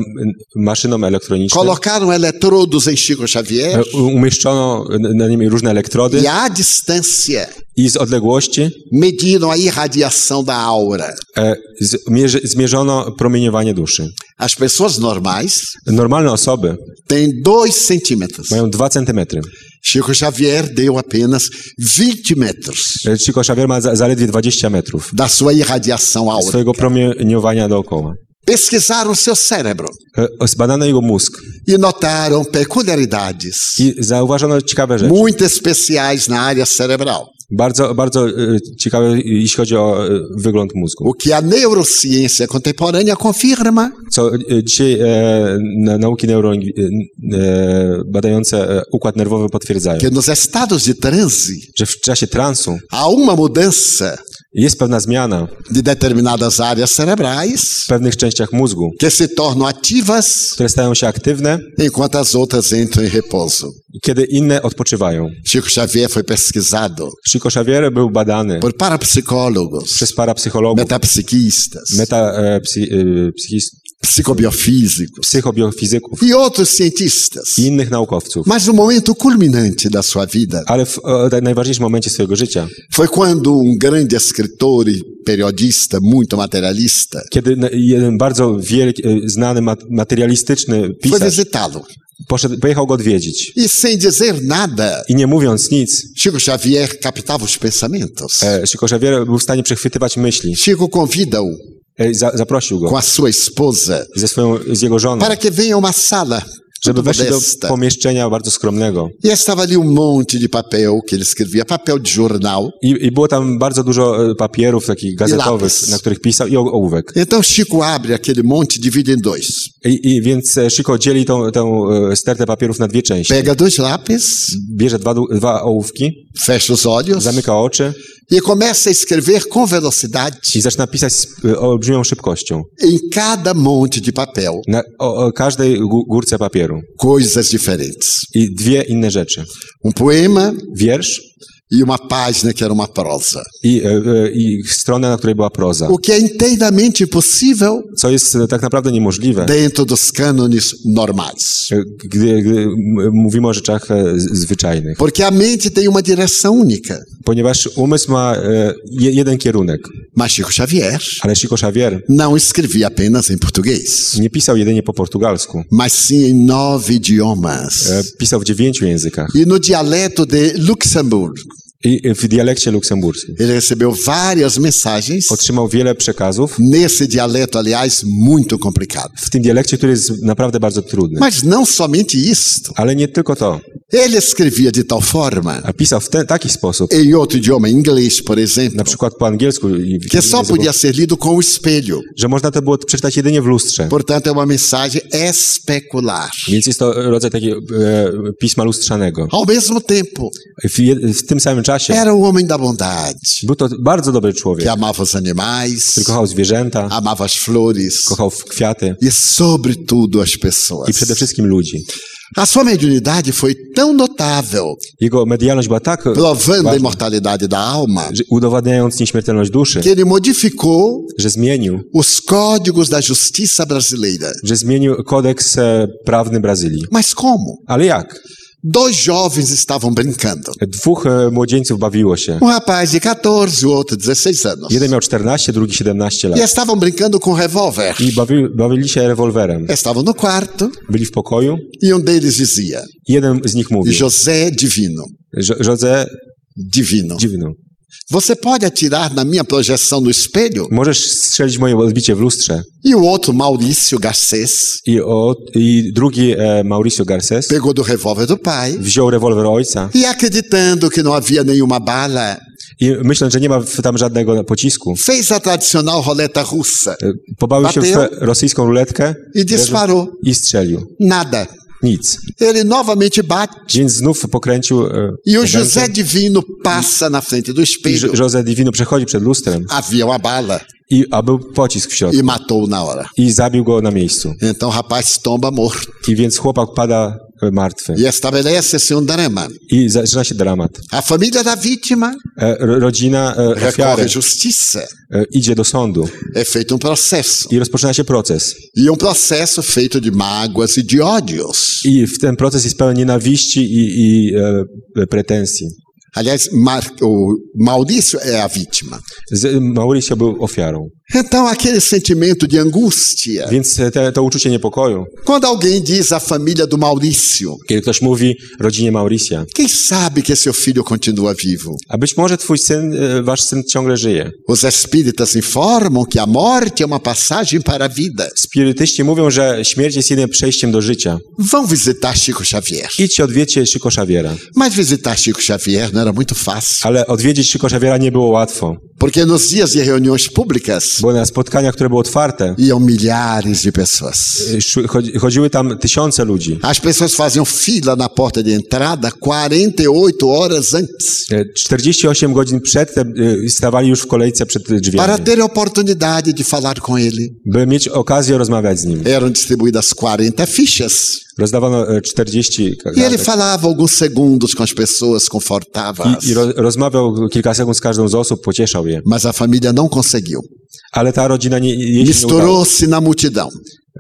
Speaker 3: maszynom elektronicznym
Speaker 4: colocaram eletrodos em Chico Xavier
Speaker 3: e, u- umieszczono n- na nim różne elektrody
Speaker 4: e à distância
Speaker 3: i z odległości
Speaker 4: mediram a irradiação da aura.
Speaker 3: e, z- mierzy- zmierzono promieniowanie duszy.
Speaker 4: As pessoas normais
Speaker 3: Normalne osoby
Speaker 4: têm dois centímetros.
Speaker 3: mają 2 centymetry.
Speaker 4: Chico Xavier deu apenas 20 metros
Speaker 3: E, Chico Xavier ma za, zaledwie 20 metrów
Speaker 4: da sua irradiação aura.
Speaker 3: swojego promieniowania dookoła.
Speaker 4: Pesquisaram seu cérebro
Speaker 3: E, Zbadano jego mózg
Speaker 4: e notaram peculiaridades
Speaker 3: i zauważono ciekawe rzeczy.
Speaker 4: muito especiais na área cerebral,
Speaker 3: Bardzo, bardzo e, ciekawe, jeśli chodzi o e, wygląd mózgu.
Speaker 4: o que a neurociência contemporânea confirma.
Speaker 3: Co e, dzisiaj e, na- nauki neuro, e, e, badające e, układ nerwowy potwierdzają,
Speaker 4: Que nos estados de transe
Speaker 3: że w czasie transu
Speaker 4: há uma mudança
Speaker 3: jest pewna zmiana
Speaker 4: de determinadas áreas cerebrais
Speaker 3: w pewnych częściach mózgu,
Speaker 4: que se tornam ativas
Speaker 3: które stają się aktywne,
Speaker 4: enquanto as outras entram em repouso.
Speaker 3: kiedy inne odpoczywają.
Speaker 4: Chico Xavier foi pesquisado
Speaker 3: Chico Xavier był badany
Speaker 4: por parapsicólogos,
Speaker 3: przez parapsychologów,
Speaker 4: metapsiquistas,
Speaker 3: meta, e, psy, e, psychis-
Speaker 4: psicobiofísicos
Speaker 3: psychobiofizyków
Speaker 4: e outros cientistas.
Speaker 3: i innych naukowców.
Speaker 4: Mas no momento culminante da sua vida
Speaker 3: Ale w e, tak najważniejszym momencie swojego życia,
Speaker 4: foi quando um grande escritor e periodista muito materialista
Speaker 3: kiedy n- jeden bardzo wielki, e, znany mat- materialistyczny
Speaker 4: foi
Speaker 3: pisarz
Speaker 4: visitá-lo.
Speaker 3: poszedł, pojechał go odwiedzić.
Speaker 4: E sem dizer nada,
Speaker 3: I nie mówiąc nic,
Speaker 4: Chico Xavier captava os pensamentos.
Speaker 3: e, Chico Xavier był w stanie przechwytywać myśli.
Speaker 4: Chico convida-o
Speaker 3: E, Za, zaprosił
Speaker 4: com
Speaker 3: go
Speaker 4: a sua esposa
Speaker 3: ze swoją, z jego żoną,
Speaker 4: para que venha a uma sala
Speaker 3: żeby
Speaker 4: muito
Speaker 3: weszli do
Speaker 4: modesta.
Speaker 3: pomieszczenia bardzo skromnego.
Speaker 4: E estava ali um monte de papel que ele escrevia, papel de jornal.
Speaker 3: I, I było tam bardzo dużo e, papierów takich gazetowych,
Speaker 4: lapis.
Speaker 3: na których pisał i o- ołówek.
Speaker 4: Então Chico abre aquele monte, divide em dois.
Speaker 3: I, i więc e, Chico dzieli tą, tą e, stertę papierów na dwie części.
Speaker 4: Pega dois lápis,
Speaker 3: Bierze dwa, du- dwa ołówki,
Speaker 4: fecha os olhos
Speaker 3: zamyka oczy
Speaker 4: e começa a escrever com velocidade
Speaker 3: i zaczyna pisać z e, olbrzymią szybkością
Speaker 4: em cada monte de papel
Speaker 3: na o, o każdej gó- górce papieru.
Speaker 4: coisas diferentes.
Speaker 3: I dwie inne rzeczy.
Speaker 4: Um poema
Speaker 3: Wiersz
Speaker 4: e uma página que era uma prosa.
Speaker 3: i, e, e, i stronę, na której była proza.
Speaker 4: O que é inteiramente impossível
Speaker 3: Co jest e, tak naprawdę niemożliwe.
Speaker 4: dentro dos cânones normais.
Speaker 3: gdy, gdy m- mówimy o rzeczach e, z- zwyczajnych.
Speaker 4: Porque a mente tem uma direção única.
Speaker 3: Ponieważ umysł ma e, je- jeden kierunek,
Speaker 4: Mas Chico Xavier
Speaker 3: ale Chico Xavier
Speaker 4: não escrevia apenas em português,
Speaker 3: nie pisał jedynie po portugalsku.
Speaker 4: mas sim em nove idiomas.
Speaker 3: E, Pisał w dziewięciu językach
Speaker 4: E no dialeto de Luxemburgo,
Speaker 3: i e, w dialekcie luksemburskim.
Speaker 4: ele recebeu várias mensagens
Speaker 3: Otrzymał wiele przekazów
Speaker 4: nesse dialeto, aliás, muito complicado.
Speaker 3: w tym dialekcie, który jest naprawdę bardzo trudny.
Speaker 4: Mas não somente isto.
Speaker 3: Ale nie tylko to.
Speaker 4: Ele escrevia de tal forma,
Speaker 3: A pisał w ten, taki sposób,
Speaker 4: em outro idioma, em inglês, por
Speaker 3: na
Speaker 4: exemplo,
Speaker 3: przykład po angielsku, i w-
Speaker 4: que só
Speaker 3: języku,
Speaker 4: podia ser lido com o espelho.
Speaker 3: że można to było przeczytać jedynie w lustrze.
Speaker 4: Portanto, é uma mensagem especular.
Speaker 3: Więc jest to rodzaj takiego e, pisma lustrzanego.
Speaker 4: Ao mesmo tempo,
Speaker 3: W, je- w tym samym czasie
Speaker 4: era o homem da bondade,
Speaker 3: był to bardzo dobry człowiek.
Speaker 4: que amava os animais,
Speaker 3: który kochał zwierzęta,
Speaker 4: amava as flores
Speaker 3: kochał w kwiaty
Speaker 4: e, sobretudo, as pessoas.
Speaker 3: i przede wszystkim ludzi.
Speaker 4: A sua mediunidade foi tão notável,
Speaker 3: Jego medialność była tak
Speaker 4: provando a
Speaker 3: ważna,
Speaker 4: imortalidade da alma,
Speaker 3: że udowadniając nieśmiertelność duszy,
Speaker 4: que ele modificou
Speaker 3: że zmienił,
Speaker 4: os códigos da justiça brasileira.
Speaker 3: że zmienił kodeks e, prawny Brazylii.
Speaker 4: Mas como?
Speaker 3: Ale jak?
Speaker 4: Dois jovens estavam brincando.
Speaker 3: Dwóch e, młodzieńców bawiło się.
Speaker 4: Um rapaz de 14, o outro 16 anos.
Speaker 3: Jeden miał 14, drugi 17
Speaker 4: E
Speaker 3: lat.
Speaker 4: estavam brincando com um revólver.
Speaker 3: I bawi, bawili się rewolwerem.
Speaker 4: Estavam no quarto
Speaker 3: Byli w pokoju
Speaker 4: e um deles dizia:
Speaker 3: i jeden z nich mówił,
Speaker 4: José é Divino,
Speaker 3: "Żo- José
Speaker 4: Divino,
Speaker 3: dziwną,
Speaker 4: você pode atirar na minha projeção no espelho?
Speaker 3: możesz strzelić moje odbicie w lustrze.
Speaker 4: E o outro, Maurício Garcês,
Speaker 3: I, o, i drugi, e, Mauricio Garces,
Speaker 4: pegou do rewólver do pai
Speaker 3: wziął rewolwer ojca
Speaker 4: e, acreditando que não havia nenhuma bala,
Speaker 3: I myśląc, że nie ma w- tam żadnego pocisku,
Speaker 4: Fez a tradicional roleta russa
Speaker 3: e, pobawił się w
Speaker 4: Bateu.
Speaker 3: tę rosyjską ruletkę
Speaker 4: e disparou.
Speaker 3: i strzelił.
Speaker 4: Nada.
Speaker 3: Nic.
Speaker 4: Ele novamente bate
Speaker 3: Więc znów pokręcił. e,
Speaker 4: e o
Speaker 3: ręce
Speaker 4: José Divino passa na frente do
Speaker 3: i Então, Jo-
Speaker 4: espelho.
Speaker 3: José Divino przechodzi przed lustrem,
Speaker 4: Havia uma bala
Speaker 3: i, a był pocisk w
Speaker 4: e
Speaker 3: środku.
Speaker 4: matou na hora.
Speaker 3: I zabił go na miejscu.
Speaker 4: Então o rapaz tomba morto.
Speaker 3: I więc chłopak pada e, martwy.
Speaker 4: E estabelece-se um drama.
Speaker 3: I zaczyna się dramat.
Speaker 4: A família da vítima
Speaker 3: E, ro- Rodzina e,
Speaker 4: recorre
Speaker 3: ofiary
Speaker 4: à justiça.
Speaker 3: e, idzie do sądu
Speaker 4: É feito um processo.
Speaker 3: i rozpoczyna się proces.
Speaker 4: E um processo feito de mágoas e de ódios.
Speaker 3: I w ten proces jest pełen nienawiści i, i e, e, pretensji.
Speaker 4: Aliás, Mar- o Maurício é a vítima.
Speaker 3: Z- Mauricio był ofiarą.
Speaker 4: Então, aquele sentimento de angústia.
Speaker 3: Więc e, te, to uczucie niepokoju,
Speaker 4: Quando alguém diz à família do Maurício,
Speaker 3: kiedy ktoś mówi rodzinie Mauricia,
Speaker 4: quem sabe que seu filho continua vivo?
Speaker 3: a być może twój syn, e, wasz syn ciągle żyje.
Speaker 4: Os espíritas informam que a morte é uma passagem para a vida.
Speaker 3: Spirytyści mówią, że śmierć jest jedynym przejściem do życia.
Speaker 4: Vão visitar Chico Xavier.
Speaker 3: Idźcie, odwiedźcie Szyko Szawiera.
Speaker 4: Mas visitar Chico Xavier não era muito fácil,
Speaker 3: Ale odwiedzić Szyko Szawiera nie było łatwo,
Speaker 4: porque nos dias de reuniões públicas
Speaker 3: bo na spotkania, które były otwarte,
Speaker 4: iam milhares de pessoas.
Speaker 3: e, szły- chodzi- chodziły tam tysiące ludzi.
Speaker 4: As pessoas faziam fila na porta de entrada 48 horas antes
Speaker 3: E, 48 godzin przedtem e, stawali już w kolejce przed
Speaker 4: para
Speaker 3: drzwiami,
Speaker 4: ter a oportunidade de falar com ele.
Speaker 3: by mieć okazję rozmawiać z nim.
Speaker 4: Eram distribuídas 40 fichas
Speaker 3: Rozdawano e, 40
Speaker 4: e ele
Speaker 3: kartek.
Speaker 4: falava alguns segundos com as pessoas, confortava-as.
Speaker 3: I, i ro, rozmawiał kilka sekund z każdą z osób, pocieszał je.
Speaker 4: Mas a família não conseguiu.
Speaker 3: Ale ta rodzina nie, jej się nie udało.
Speaker 4: Misturou-se na multidão.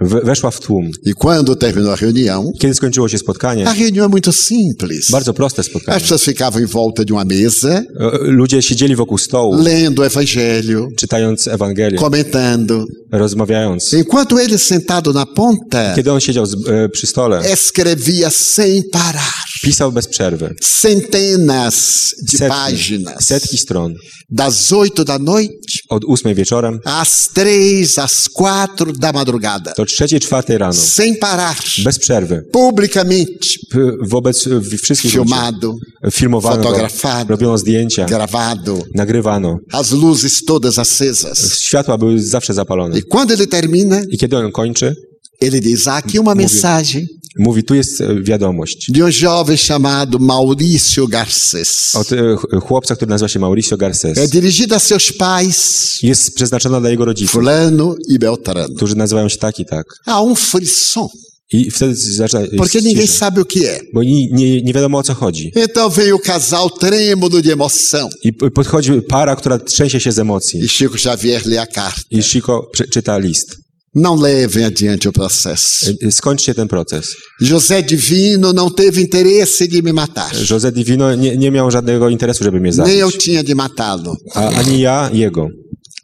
Speaker 3: W, weszła w tłum.
Speaker 4: E quando terminou a reunião,
Speaker 3: Kiedy skończyło się spotkanie,
Speaker 4: a reunião é muito simples.
Speaker 3: bardzo proste
Speaker 4: As
Speaker 3: spotkanie.
Speaker 4: pessoas ficavam em volta de uma mesa,
Speaker 3: E, Ludzie siedzieli wokół stołu,
Speaker 4: lendo o evangelho,
Speaker 3: czytając Ewangelię,
Speaker 4: comentando.
Speaker 3: rozmawiając.
Speaker 4: Enquanto ele sentado na ponta,
Speaker 3: Kiedy on siedział z, e, przy stole,
Speaker 4: escrevia sem parar
Speaker 3: pisał bez przerwy.
Speaker 4: centenas de
Speaker 3: Setki,
Speaker 4: páginas.
Speaker 3: setki stron.
Speaker 4: Das oito da noite
Speaker 3: Od ósmej wieczorem
Speaker 4: às três, às quatro da madrugada.
Speaker 3: do trzeciej, czwartej rano.
Speaker 4: Sem parar.
Speaker 3: Bez przerwy.
Speaker 4: Publicamente
Speaker 3: P- Wobec e, w- wszystkich ludzi.
Speaker 4: filmado,
Speaker 3: Filmowano go,
Speaker 4: Fotografado.
Speaker 3: robiono zdjęcia,
Speaker 4: gravado,
Speaker 3: nagrywano.
Speaker 4: as luzes todas acesas.
Speaker 3: Światła były zawsze zapalone.
Speaker 4: E quando ele termina,
Speaker 3: I kiedy on kończy,
Speaker 4: ele diz: há aqui uma mensagem
Speaker 3: mówi, tu jest e, wiadomość
Speaker 4: de um jovem chamado Maurício Garcês.
Speaker 3: od e, ch- chłopca, który nazywa się Mauricio
Speaker 4: É
Speaker 3: Garces.
Speaker 4: dirigida a seus pais,
Speaker 3: Jest przeznaczona dla jego rodziców,
Speaker 4: Fulano e Beltrano.
Speaker 3: którzy nazywają się tak i tak.
Speaker 4: Há um frisson,
Speaker 3: I wtedy zaczyna jest
Speaker 4: porque ninguém
Speaker 3: cisza,
Speaker 4: sabe o que é.
Speaker 3: bo nie, nie, nie wiadomo o co chodzi.
Speaker 4: Então vem o casal trêmulo de emoção.
Speaker 3: I p- podchodzi para, która trzęsie się z
Speaker 4: E
Speaker 3: emocji.
Speaker 4: Chico Xavier lê a carta.
Speaker 3: I Chico prze- czyta list.
Speaker 4: Não levem adiante o processo.
Speaker 3: E, e, Skończcie ten proces.
Speaker 4: José Divino não teve interesse de me matar.
Speaker 3: José Divino nie, nie miał żadnego interesu, żeby mnie
Speaker 4: Nem eu
Speaker 3: zabić.
Speaker 4: tinha de matá-lo.
Speaker 3: A, ani ja, jego.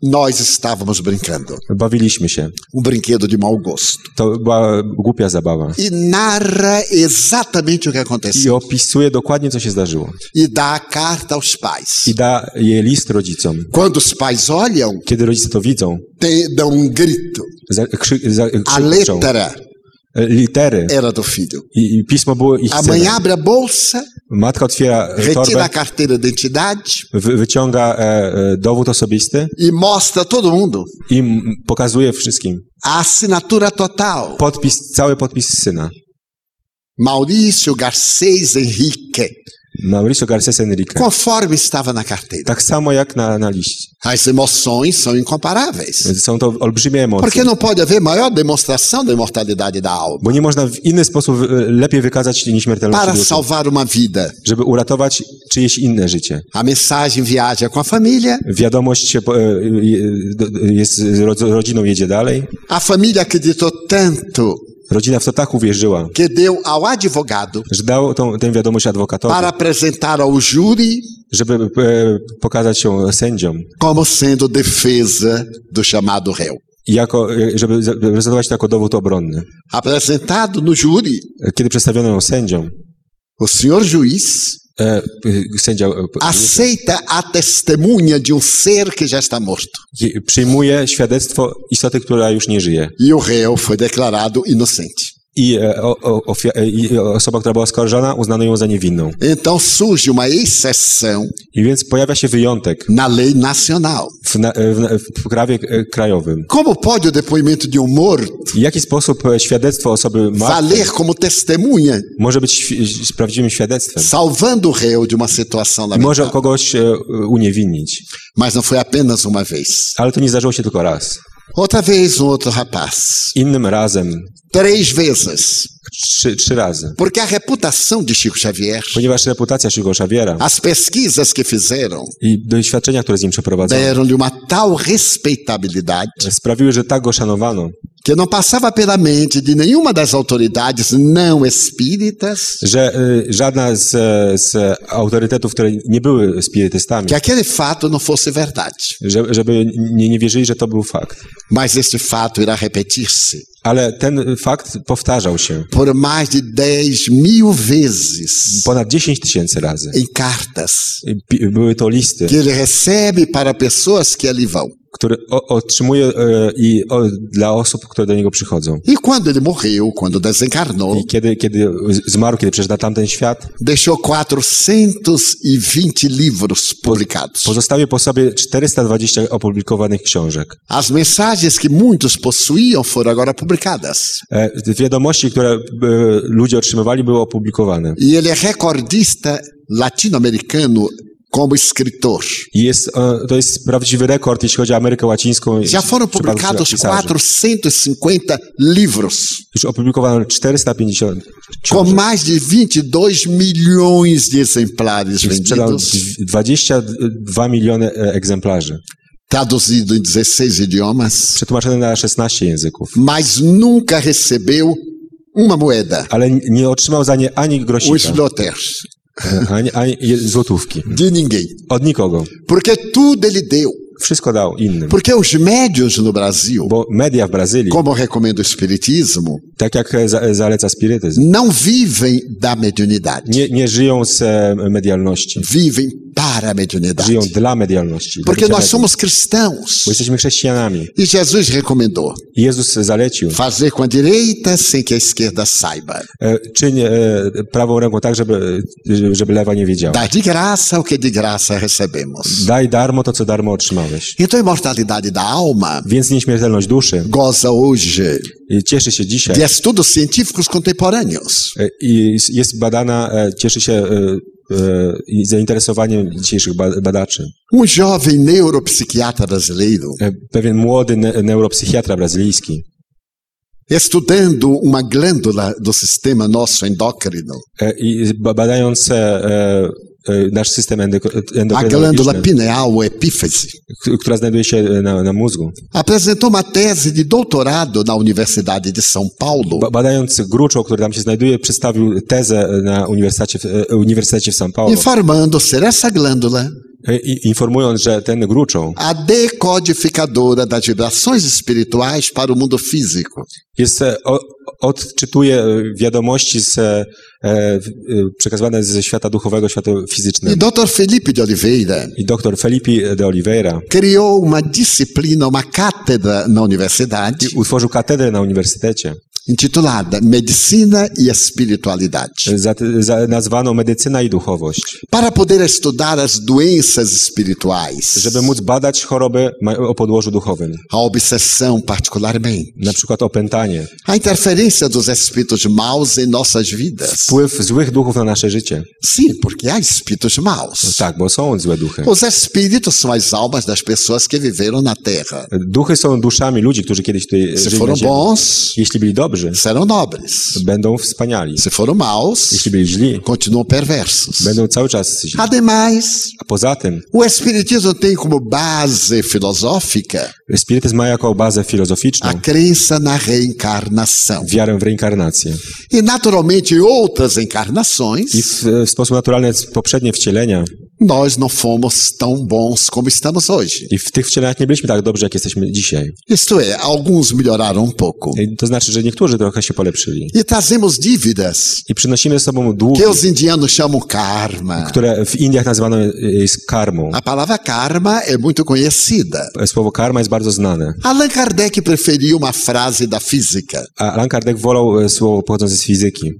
Speaker 4: Nós estávamos brincando.
Speaker 3: Bawiliśmy się.
Speaker 4: Um brinquedo de mau gosto.
Speaker 3: To była głupia zabawa.
Speaker 4: E narra exatamente o que
Speaker 3: I
Speaker 4: aconteceu.
Speaker 3: opisuje dokładnie, co się zdarzyło.
Speaker 4: E dá a carta aos pais.
Speaker 3: I da jej list rodzicom.
Speaker 4: Quando os pais olham,
Speaker 3: Kiedy rodzice to widzą,
Speaker 4: tem- dão um grito.
Speaker 3: za, krzy, za,
Speaker 4: A
Speaker 3: krzyczą
Speaker 4: letra
Speaker 3: e, litery
Speaker 4: era do filho.
Speaker 3: i, i pismo było ich
Speaker 4: A mãe
Speaker 3: synem.
Speaker 4: abre a bolsa,
Speaker 3: Matka otwiera e,
Speaker 4: retira a
Speaker 3: torbę,
Speaker 4: carteira de identidade
Speaker 3: wy, wyciąga e, e, dowód osobisty
Speaker 4: e mostra a todo mundo
Speaker 3: i m, pokazuje wszystkim
Speaker 4: a assinatura total.
Speaker 3: podpis, cały podpis syna.
Speaker 4: Maurício Garcês Henrique,
Speaker 3: Mauricio Garces Enrique.
Speaker 4: conforme estava na carteira.
Speaker 3: Tak samo jak na, na liście.
Speaker 4: As emoções são incomparáveis.
Speaker 3: Są to olbrzymie
Speaker 4: Porque no-
Speaker 3: emocje.
Speaker 4: não pode haver maior demonstração da imortalidade da alma.
Speaker 3: Bo nie można w inny sposób e, lepiej wykazać
Speaker 4: Para
Speaker 3: nieśmiertelności duszy,
Speaker 4: salvar uma vida,
Speaker 3: żeby uratować czyjeś inne życie.
Speaker 4: a mensagem viaja com a família,
Speaker 3: Wiadomość się, po- e, e, do- jest, z ro- rodziną jedzie dalej.
Speaker 4: a família acreditou tanto
Speaker 3: Rodzina w to tak uwierzyła,
Speaker 4: que deu ao advogado
Speaker 3: że dał tą, tę wiadomość adwokatowi,
Speaker 4: para apresentar ao júri
Speaker 3: żeby e, pokazać ją sędziom,
Speaker 4: como sendo defesa do chamado réu.
Speaker 3: jako, e, żeby za- prezentować to jako dowód obronny.
Speaker 4: Apresentado no júri,
Speaker 3: E, Kiedy przedstawiono ją sędziom,
Speaker 4: o senhor juiz
Speaker 3: e, e, sędzia e, p-
Speaker 4: aceita a testemunha de um ser que já está morto.
Speaker 3: je- przyjmuje świadectwo istoty, która już nie żyje
Speaker 4: E o réu foi declarado inocente.
Speaker 3: i, e, o, o, ofia- e- i osoba, która była oskarżana, uznano ją za niewinną.
Speaker 4: Então surge uma exceção
Speaker 3: I więc pojawia się wyjątek
Speaker 4: na lei nacional.
Speaker 3: w, na, w, na- w prawie e, krajowym.
Speaker 4: Como pode o depoimento de um morto
Speaker 3: W jaki sposób e, świadectwo osoby martwej
Speaker 4: valer como testemunha,
Speaker 3: może być świ- z prawdziwym świadectwem?
Speaker 4: salvando o réu de uma situação
Speaker 3: I Może
Speaker 4: lamentável?
Speaker 3: kogoś e, uniewinnić.
Speaker 4: Mas não foi apenas uma vez.
Speaker 3: Ale to nie zdarzyło się tylko raz.
Speaker 4: Outra vez, um outro rapaz.
Speaker 3: Innym razem,
Speaker 4: Três vezes.
Speaker 3: trzy, trzy razy.
Speaker 4: Porque a reputação de Chico Xavier,
Speaker 3: Ponieważ reputacja Chico Xaviera
Speaker 4: as pesquisas que fizeram,
Speaker 3: i doświadczenia, które z nim przeprowadzono,
Speaker 4: deram-lhe uma tal respeitabilidade
Speaker 3: sprawiły, że tak go szanowano,
Speaker 4: que não passava pela mente de nenhuma das autoridades não espíritas
Speaker 3: że y, żadna z, e, z autorytetów, które nie były spirytystami,
Speaker 4: que aquele fato não fosse verdade.
Speaker 3: że, żeby nie, nie wierzyli, że to był fakt.
Speaker 4: Mas este fato irá repetir-se
Speaker 3: Ale ten fakt powtarzał się
Speaker 4: por mais de 10 mil vezes
Speaker 3: ponad 10 tysięcy razy.
Speaker 4: em cartas
Speaker 3: I pi- Były to listy,
Speaker 4: que ele recebe para pessoas que ali vão.
Speaker 3: które o, otrzymuje e, i o, dla osób, które do niego przychodzą.
Speaker 4: E quando ele morreu, quando desencarnou,
Speaker 3: I kiedy, kiedy z- zmarł, kiedy przyszedł na tamten świat,
Speaker 4: deixou 420 livros publicados.
Speaker 3: pozostawił po sobie 420 opublikowanych książek.
Speaker 4: As mensagens que muitos possuíam foram agora publicadas.
Speaker 3: E, Wiadomości, które e, ludzie otrzymywali, były opublikowane.
Speaker 4: E ele é recordista latino-americano como escritor.
Speaker 3: I jest, e, to jest prawdziwy rekord, jeśli chodzi o Amerykę Łacińską.
Speaker 4: Já foram
Speaker 3: w przypadku
Speaker 4: publicados
Speaker 3: pisarzy.
Speaker 4: 450 livros,
Speaker 3: Już opublikowano 450
Speaker 4: com
Speaker 3: książek.
Speaker 4: mais de 22 milhões de exemplares
Speaker 3: Sprzedał
Speaker 4: vendidos,
Speaker 3: dw- 22 miliony e, egzemplarzy.
Speaker 4: traduzido em 16 idiomas,
Speaker 3: Przetłumaczone na 16 języków.
Speaker 4: mas nunca recebeu uma moeda,
Speaker 3: Ale n- nie otrzymał za nie ani
Speaker 4: um
Speaker 3: grosika,
Speaker 4: slotter,
Speaker 3: ani, ani je- złotówki.
Speaker 4: de ninguém.
Speaker 3: Od nikogo.
Speaker 4: Porque tudo ele deu.
Speaker 3: Wszystko dał innym.
Speaker 4: Porque os médios no Brasil,
Speaker 3: Bo media w Brazylii,
Speaker 4: como recomenda o Espiritismo,
Speaker 3: tak jak e, za- e, zaleca spirytyzm,
Speaker 4: não vivem da mediunidade.
Speaker 3: nie, nie żyją z e, medialności.
Speaker 4: vivem para a mediunidade.
Speaker 3: Żyją dla medialności. dla
Speaker 4: Porque
Speaker 3: bycia
Speaker 4: nós
Speaker 3: medium.
Speaker 4: somos cristãos.
Speaker 3: Bo jesteśmy chrześcijanami.
Speaker 4: E Jesus recomendou
Speaker 3: I Jezus zalecił,
Speaker 4: fazer com a direita sem que a esquerda saiba.
Speaker 3: e, czyń e, prawą ręką tak, żeby, żeby lewa nie wiedziała.
Speaker 4: Dar de graça o que de graça recebemos.
Speaker 3: Daj darmo to, co darmo otrzymałeś.
Speaker 4: Então a imortalidade da alma
Speaker 3: Więc nieśmiertelność duszy
Speaker 4: goza hoje
Speaker 3: e, cieszy się dzisiaj
Speaker 4: de estudos científicos contemporâneos.
Speaker 3: e, i s- jest badana, e, cieszy się e, e, i zainteresowaniem dzisiejszych ba- badaczy.
Speaker 4: Um jovem neuropsiquiatra brasileiro,
Speaker 3: E, Pewien młody ne- neuropsychiatra brazylijski,
Speaker 4: estudando uma glândula do sistema nosso endócrino,
Speaker 3: e, i ba- badając e, e, nasz system endokry-
Speaker 4: a glândula
Speaker 3: endokrynologiczny,
Speaker 4: pineal ou epífise,
Speaker 3: k- która znajduje się e, na, na mózgu.
Speaker 4: apresentou uma tese de doutorado na Universidade de São Paulo
Speaker 3: Ba- Badając gruczoł, który tam się znajduje, przedstawił tezę e, na Uniwersytecie w, e, Uniwersytecie w São Paulo,
Speaker 4: informando ser essa glândula
Speaker 3: e, i- informując, że ten gruczoł
Speaker 4: a decodificadora das vibrações espirituais para o mundo físico.
Speaker 3: Jest, e, o, odczytuje e, wiadomości z, e, w- e, przekazywane ze świata duchowego, świata
Speaker 4: E
Speaker 3: fizycznego.
Speaker 4: Dr. Felipe de Oliveira
Speaker 3: I doktor Felipe de Oliveira
Speaker 4: criou uma disciplina, uma cátedra na universidade,
Speaker 3: utworzył katedrę na uniwersytecie,
Speaker 4: intitulada Medicina e Espiritualidade,
Speaker 3: e, za, za, nazwaną Medycyna i Duchowość,
Speaker 4: para poder estudar as doenças espirituais,
Speaker 3: żeby móc badać choroby ma- o podłożu duchowym,
Speaker 4: a obsessão particularmente,
Speaker 3: na przykład opętanie,
Speaker 4: a interferência dos espíritos maus em nossas vidas.
Speaker 3: wpływ złych duchów na nasze życie.
Speaker 4: Sim, porque há espíritos maus.
Speaker 3: Tak, bo są złe duchy.
Speaker 4: Os espíritos são as almas das pessoas que viveram na Terra.
Speaker 3: Duchy są duszami ludzi, którzy kiedyś tutaj e,
Speaker 4: Se
Speaker 3: żyli na
Speaker 4: foram
Speaker 3: ziemi.
Speaker 4: bons,
Speaker 3: Jeśli byli dobrzy,
Speaker 4: serão nobres.
Speaker 3: będą wspaniali.
Speaker 4: Se foram maus,
Speaker 3: Jeśli byli źli,
Speaker 4: continuam perversos.
Speaker 3: będą cały czas źli.
Speaker 4: Ademais,
Speaker 3: A poza tym,
Speaker 4: o Espiritismo tem como base filosófica
Speaker 3: Spirytyzm ma jako bazę filozoficzną
Speaker 4: a crença na reencarnação.
Speaker 3: wiarę w reinkarnację.
Speaker 4: E, naturalmente, em outras
Speaker 3: I
Speaker 4: encarnações,
Speaker 3: e, w, w sposób naturalny poprzednie wcielenia
Speaker 4: nós não fomos tão bons como estamos hoje.
Speaker 3: I w tych wcieleniach nie byliśmy tak dobrzy, jak jesteśmy dzisiaj.
Speaker 4: Isto é, alguns melhoraram um pouco.
Speaker 3: I to znaczy, że niektórzy trochę się polepszyli.
Speaker 4: E trazemos dívidas,
Speaker 3: I przynosimy ze sobą długi,
Speaker 4: que os indianos chamam karma.
Speaker 3: które w Indiach nazywano e, e, karmą. E,
Speaker 4: A palavra karma é muito conhecida.
Speaker 3: Słowo karma jest bardzo znane.
Speaker 4: Allan Kardec preferia uma frase da física:
Speaker 3: A Allan Kardec wolał e, słowo pochodzące z fizyki.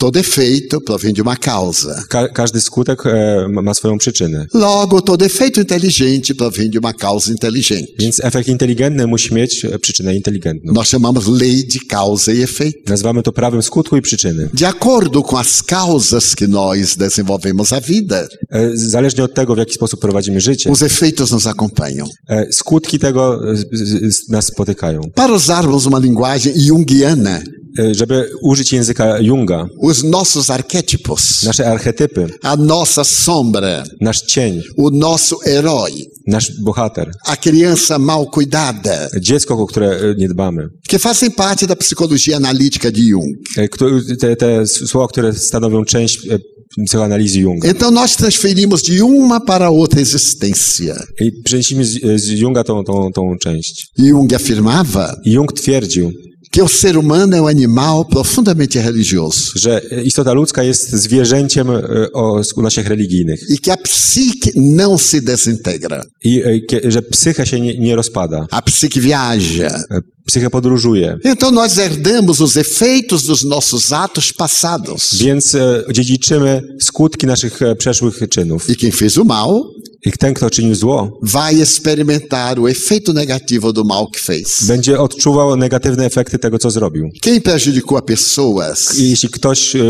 Speaker 4: todo efeito provém de uma causa.
Speaker 3: Ka każdy skutek e, ma ma swoją przyczynę.
Speaker 4: Logo, todo efeito inteligente provém de uma causa inteligente.
Speaker 3: Więc efekt inteligentny musi mieć e, przyczynę inteligentną.
Speaker 4: Nós chamamos lei de causa e efeito.
Speaker 3: Nazywamy to prawem skutku i przyczyny.
Speaker 4: De acordo com as causas que nós desenvolvemos a vida,
Speaker 3: E, Zależnie od tego, w jaki sposób prowadzimy życie,
Speaker 4: os efeitos nos acompanham.
Speaker 3: e, skutki tego e, z- z- nas spotykają.
Speaker 4: Para usarmos uma linguagem junguiana,
Speaker 3: E, Żeby użyć języka Junga,
Speaker 4: os nossos arquétipos,
Speaker 3: nasze archetypy,
Speaker 4: a nossa sombra,
Speaker 3: nasz cień,
Speaker 4: o nosso herói,
Speaker 3: nasz bohater,
Speaker 4: a criança mal cuidada,
Speaker 3: dziecko, o które e, nie dbamy,
Speaker 4: que fazem parte da psicologia analítica de Jung.
Speaker 3: E, kto- te, te słowa, które stanowią część e, psychoanalizy Junga.
Speaker 4: Então nós transferimos de uma para outra existência.
Speaker 3: I przenieśmy z, z Junga tą, tą, tą część.
Speaker 4: Jung afirmava
Speaker 3: I Jung twierdził,
Speaker 4: que o ser humano é um animal profundamente religioso
Speaker 3: że istota ludzka jest zwierzęciem e, o skłonnościach religijnych
Speaker 4: e que a psique não se desintegra.
Speaker 3: i e, kie- że psycha się nie, nie rozpada,
Speaker 4: A psique viaja.
Speaker 3: E, psycha podróżuje.
Speaker 4: Então nós herdamos os efeitos dos nossos atos passados.
Speaker 3: Więc e, dziedziczymy skutki naszych e, przeszłych czynów.
Speaker 4: E quem fez o mal
Speaker 3: I ten, kto czynił zło,
Speaker 4: vai experimentar o efeito negativo do mal que fez.
Speaker 3: będzie odczuwał negatywne efekty tego, co zrobił.
Speaker 4: Quem prejudicou a pessoas
Speaker 3: I jeśli ktoś e,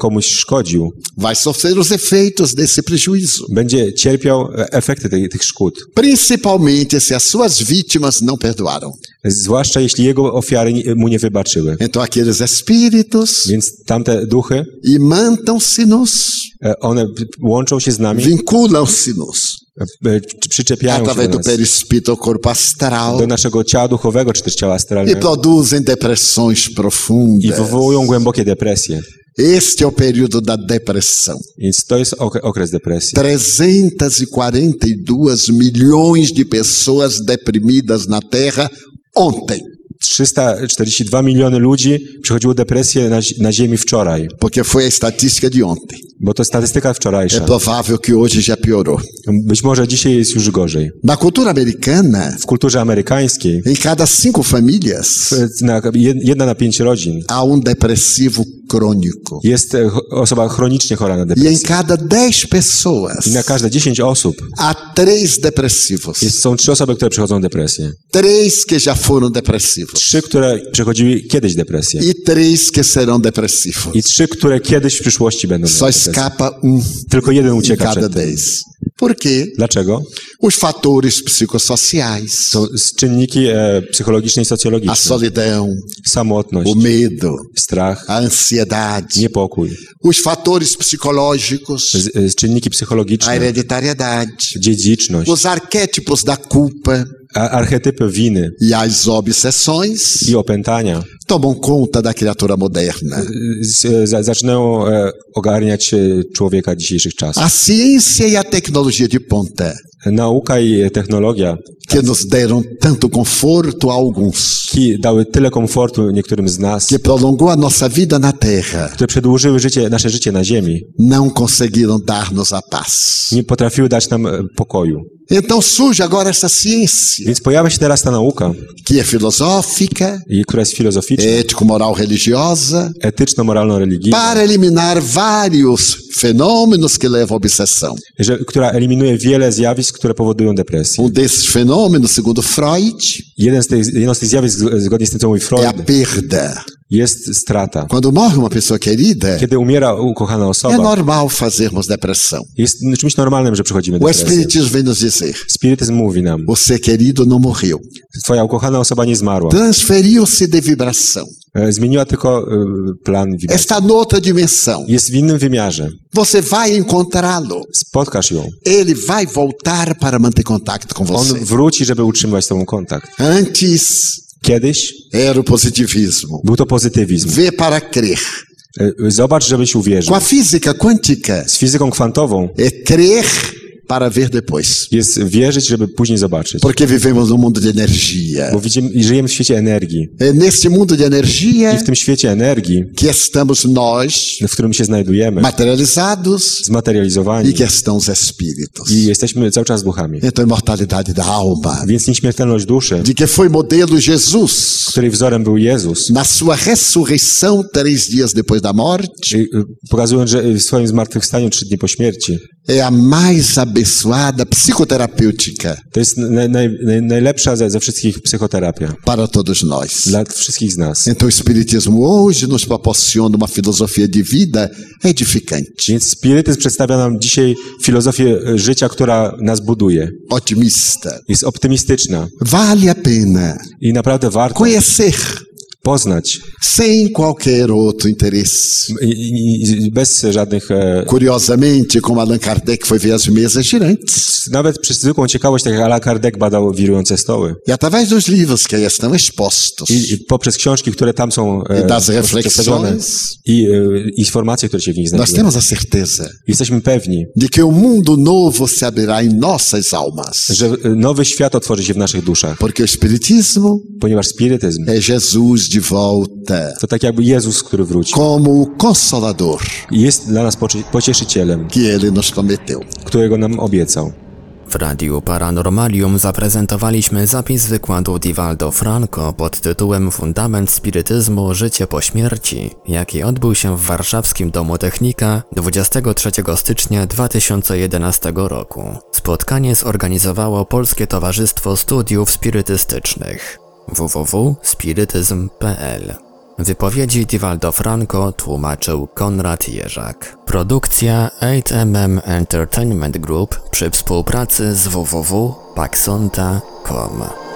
Speaker 3: komuś szkodził,
Speaker 4: vai sofrer os efeitos desse prejuízo.
Speaker 3: będzie cierpiał e, efekty tej, tych szkód.
Speaker 4: Principalmente se as suas vítimas não perdoaram.
Speaker 3: Zwłaszcza jeśli jego ofiary ni- mu nie wybaczyły.
Speaker 4: Então aqueles espíritos
Speaker 3: Więc tamte duchy,
Speaker 4: imantam-se-nos,
Speaker 3: e, one p- łączą się z nami,
Speaker 4: vinculam-se-nos
Speaker 3: e, e, czy- przyczepiają się
Speaker 4: através
Speaker 3: do
Speaker 4: do
Speaker 3: nas.
Speaker 4: perispírito ao corpo astral
Speaker 3: do naszego ciała duchowego, czy też ciała
Speaker 4: e
Speaker 3: astralnego
Speaker 4: produzem depressões
Speaker 3: i
Speaker 4: profundas.
Speaker 3: wywołują głębokie depresje.
Speaker 4: Este é o período da depressão.
Speaker 3: Więc to jest ok- okres depresji.
Speaker 4: 342 milhões de pessoas deprimidas na Terra ontem,
Speaker 3: 342 miliony ludzi przechodziło depresję na, zi- na Ziemi wczoraj,
Speaker 4: porque foi a estatística de ontem.
Speaker 3: bo to statystyka
Speaker 4: É
Speaker 3: wczorajsza.
Speaker 4: provável que hoje já piorou.
Speaker 3: Być może dzisiaj jest już gorzej.
Speaker 4: Na cultura americana,
Speaker 3: W kulturze amerykańskiej
Speaker 4: em cada cinco famílias,
Speaker 3: e, na, jed- jedna na pięć rodzin
Speaker 4: há um depressivo crônico.
Speaker 3: jest e, cho- osoba chronicznie chora na
Speaker 4: E
Speaker 3: depresję.
Speaker 4: em cada dez pessoas,
Speaker 3: I na każde 10 osób
Speaker 4: há três depressivos.
Speaker 3: jest, są trzy osoby, które przechodzą depresję.
Speaker 4: Três que já foram depressivos.
Speaker 3: Trzy, które przechodziły kiedyś depresję.
Speaker 4: E três que serão depressivos.
Speaker 3: I trzy, które kiedyś w przyszłości będą miały
Speaker 4: Só
Speaker 3: depresję.
Speaker 4: escapa um
Speaker 3: Tylko jeden
Speaker 4: em
Speaker 3: ucieka
Speaker 4: cada
Speaker 3: przed tym.
Speaker 4: dez. Por quê?
Speaker 3: Dlaczego?
Speaker 4: Os fatores psicossociais,
Speaker 3: To z czynniki e, psychologiczne i
Speaker 4: a
Speaker 3: socjologiczne.
Speaker 4: solidão,
Speaker 3: Samotność,
Speaker 4: o medo,
Speaker 3: strach,
Speaker 4: a ansiedade,
Speaker 3: niepokój.
Speaker 4: os fatores psicológicos,
Speaker 3: Z, e, z czynniki
Speaker 4: a
Speaker 3: psychologiczne,
Speaker 4: hereditariedade,
Speaker 3: dziedziczność,
Speaker 4: os arquétipos da culpa
Speaker 3: a, archetypy winy
Speaker 4: e as obsessões
Speaker 3: i opętania e,
Speaker 4: tomam conta da criatura moderna.
Speaker 3: é. z, e, za, zaczynają e, ogarniać e, człowieka dzisiejszych czasów.
Speaker 4: A ciência e a tecnologia de ponta,
Speaker 3: Nauka i technologia
Speaker 4: que nos deram tanto conforto a alguns,
Speaker 3: ki- dały tyle komfortu niektórym z nas,
Speaker 4: que prolongou a nossa vida na Terra,
Speaker 3: które przedłużyły życie, nasze życie na ziemi,
Speaker 4: não conseguiram dar-nos a paz.
Speaker 3: nie potrafiły dać nam e, pokoju.
Speaker 4: Então surge agora essa ciência,
Speaker 3: Więc pojawia się teraz ta nauka,
Speaker 4: que é filosófica,
Speaker 3: i- która jest filozoficzna,
Speaker 4: ético-moral religiosa,
Speaker 3: etyczno-moralno-religijna,
Speaker 4: para eliminar vários fenômenos que levam à obsessão.
Speaker 3: że, która eliminuje wiele zjawisk, które powodują depresję.
Speaker 4: Um desses fenômenos, segundo Freud,
Speaker 3: Jeden z tych, jedno z tych zjawisk, zg- zgodnie z tym, co mówi
Speaker 4: é a
Speaker 3: Freud,
Speaker 4: perda.
Speaker 3: jest strata.
Speaker 4: Quando morre uma pessoa querida,
Speaker 3: Kiedy umiera ukochana
Speaker 4: é
Speaker 3: osoba,
Speaker 4: normal fazermos depressão.
Speaker 3: jest no, czymś normalnym, że przechodzimy
Speaker 4: O
Speaker 3: depresję.
Speaker 4: Espiritismo vem nos dizer:
Speaker 3: Spirytyzm mówi nam,
Speaker 4: o ser querido não morreu.
Speaker 3: twoja ukochana osoba nie zmarła,
Speaker 4: Transferiu-se de vibração.
Speaker 3: E, zmieniła tylko e, plan wibracji.
Speaker 4: Está noutra dimensão.
Speaker 3: Jest w innym wymiarze.
Speaker 4: Você vai encontrá-lo.
Speaker 3: Spotkasz ją.
Speaker 4: Ele vai voltar para manter contato com
Speaker 3: On
Speaker 4: você.
Speaker 3: wróci, żeby utrzymywać z tobą kontakt.
Speaker 4: Antes
Speaker 3: Kiedyś
Speaker 4: era o positivismo.
Speaker 3: był to pozytywizm.
Speaker 4: Vê para crer.
Speaker 3: E, Zobacz, żebyś uwierzył.
Speaker 4: Com a física quântica,
Speaker 3: Z fizyką kwantową
Speaker 4: é crer para ver depois.
Speaker 3: Jest wierzyć, żeby później zobaczyć.
Speaker 4: Porque vivemos num mundo de energia.
Speaker 3: Bo widzimy i żyjemy w świecie energii.
Speaker 4: É nesse mundo de
Speaker 3: I
Speaker 4: energia
Speaker 3: w tym świecie energii,
Speaker 4: que estamos nós
Speaker 3: w którym się znajdujemy,
Speaker 4: materializados
Speaker 3: zmaterializowani
Speaker 4: e que estão os espíritos.
Speaker 3: i jesteśmy cały czas duchami.
Speaker 4: Então, a imortalidade da alma,
Speaker 3: Więc nieśmiertelność duszy,
Speaker 4: de que foi modelo Jesus
Speaker 3: której wzorem był Jezus,
Speaker 4: na sua ressurreição três dias depois da morte,
Speaker 3: czyli, y, pokazując, że w swoim zmartwychwstaniu trzy dni po śmierci,
Speaker 4: é a mais abençoada psicoterapêutica
Speaker 3: to jest naj, naj, naj, najlepsza ze, ze wszystkich psychoterapia
Speaker 4: para todos nós.
Speaker 3: dla wszystkich z nas.
Speaker 4: Então, o Espiritismo hoje nos proporciona uma filosofia de vida edificante,
Speaker 3: Więc spirytyzm przedstawia nam dzisiaj filozofię y, życia, która nas buduje.
Speaker 4: otimista.
Speaker 3: Jest optymistyczna
Speaker 4: Vale a pena
Speaker 3: i naprawdę warto
Speaker 4: conhecer
Speaker 3: poznać
Speaker 4: sem qualquer outro interesse.
Speaker 3: I- i, i, bez żadnych, e,
Speaker 4: Curiosamente, como Allan Kardec foi ver as mesas girantes.
Speaker 3: nawet przez zwykłą ciekawość, tak jak Allan Kardec badał wirujące stoły.
Speaker 4: E através dos livros que aí estão expostos
Speaker 3: I, I poprzez książki, które tam są
Speaker 4: e das
Speaker 3: przedstawione
Speaker 4: reflexões,
Speaker 3: i e, informacje, które się w nich
Speaker 4: nós
Speaker 3: znajdują.
Speaker 4: temos a certeza
Speaker 3: Jesteśmy pewni,
Speaker 4: de que o mundo novo se abrirá em nossas almas.
Speaker 3: że e, nowy świat otworzy się w naszych duszach,
Speaker 4: Porque o Espiritismo
Speaker 3: ponieważ spirytyzm
Speaker 4: é Jesus de volta
Speaker 3: to tak jakby Jezus, który wrócił.
Speaker 4: como o Consolador
Speaker 3: I Jest dla nas poci- pocieszycielem,
Speaker 4: que ele nos prometeu.
Speaker 3: którego nam obiecał.
Speaker 2: W Radiu Paranormalium zaprezentowaliśmy zapis wykładu Divaldo Franco pod tytułem Fundament Spirytyzmu Życie po śmierci, jaki odbył się w warszawskim Domu Technika 23 stycznia 2011 roku. Spotkanie zorganizowało Polskie Towarzystwo Studiów Spirytystycznych www.spirytyzm.pl Wypowiedzi Divaldo Franco tłumaczył Konrad Jerzak. Produkcja 8mm Entertainment Group przy współpracy z www.paxonta.com.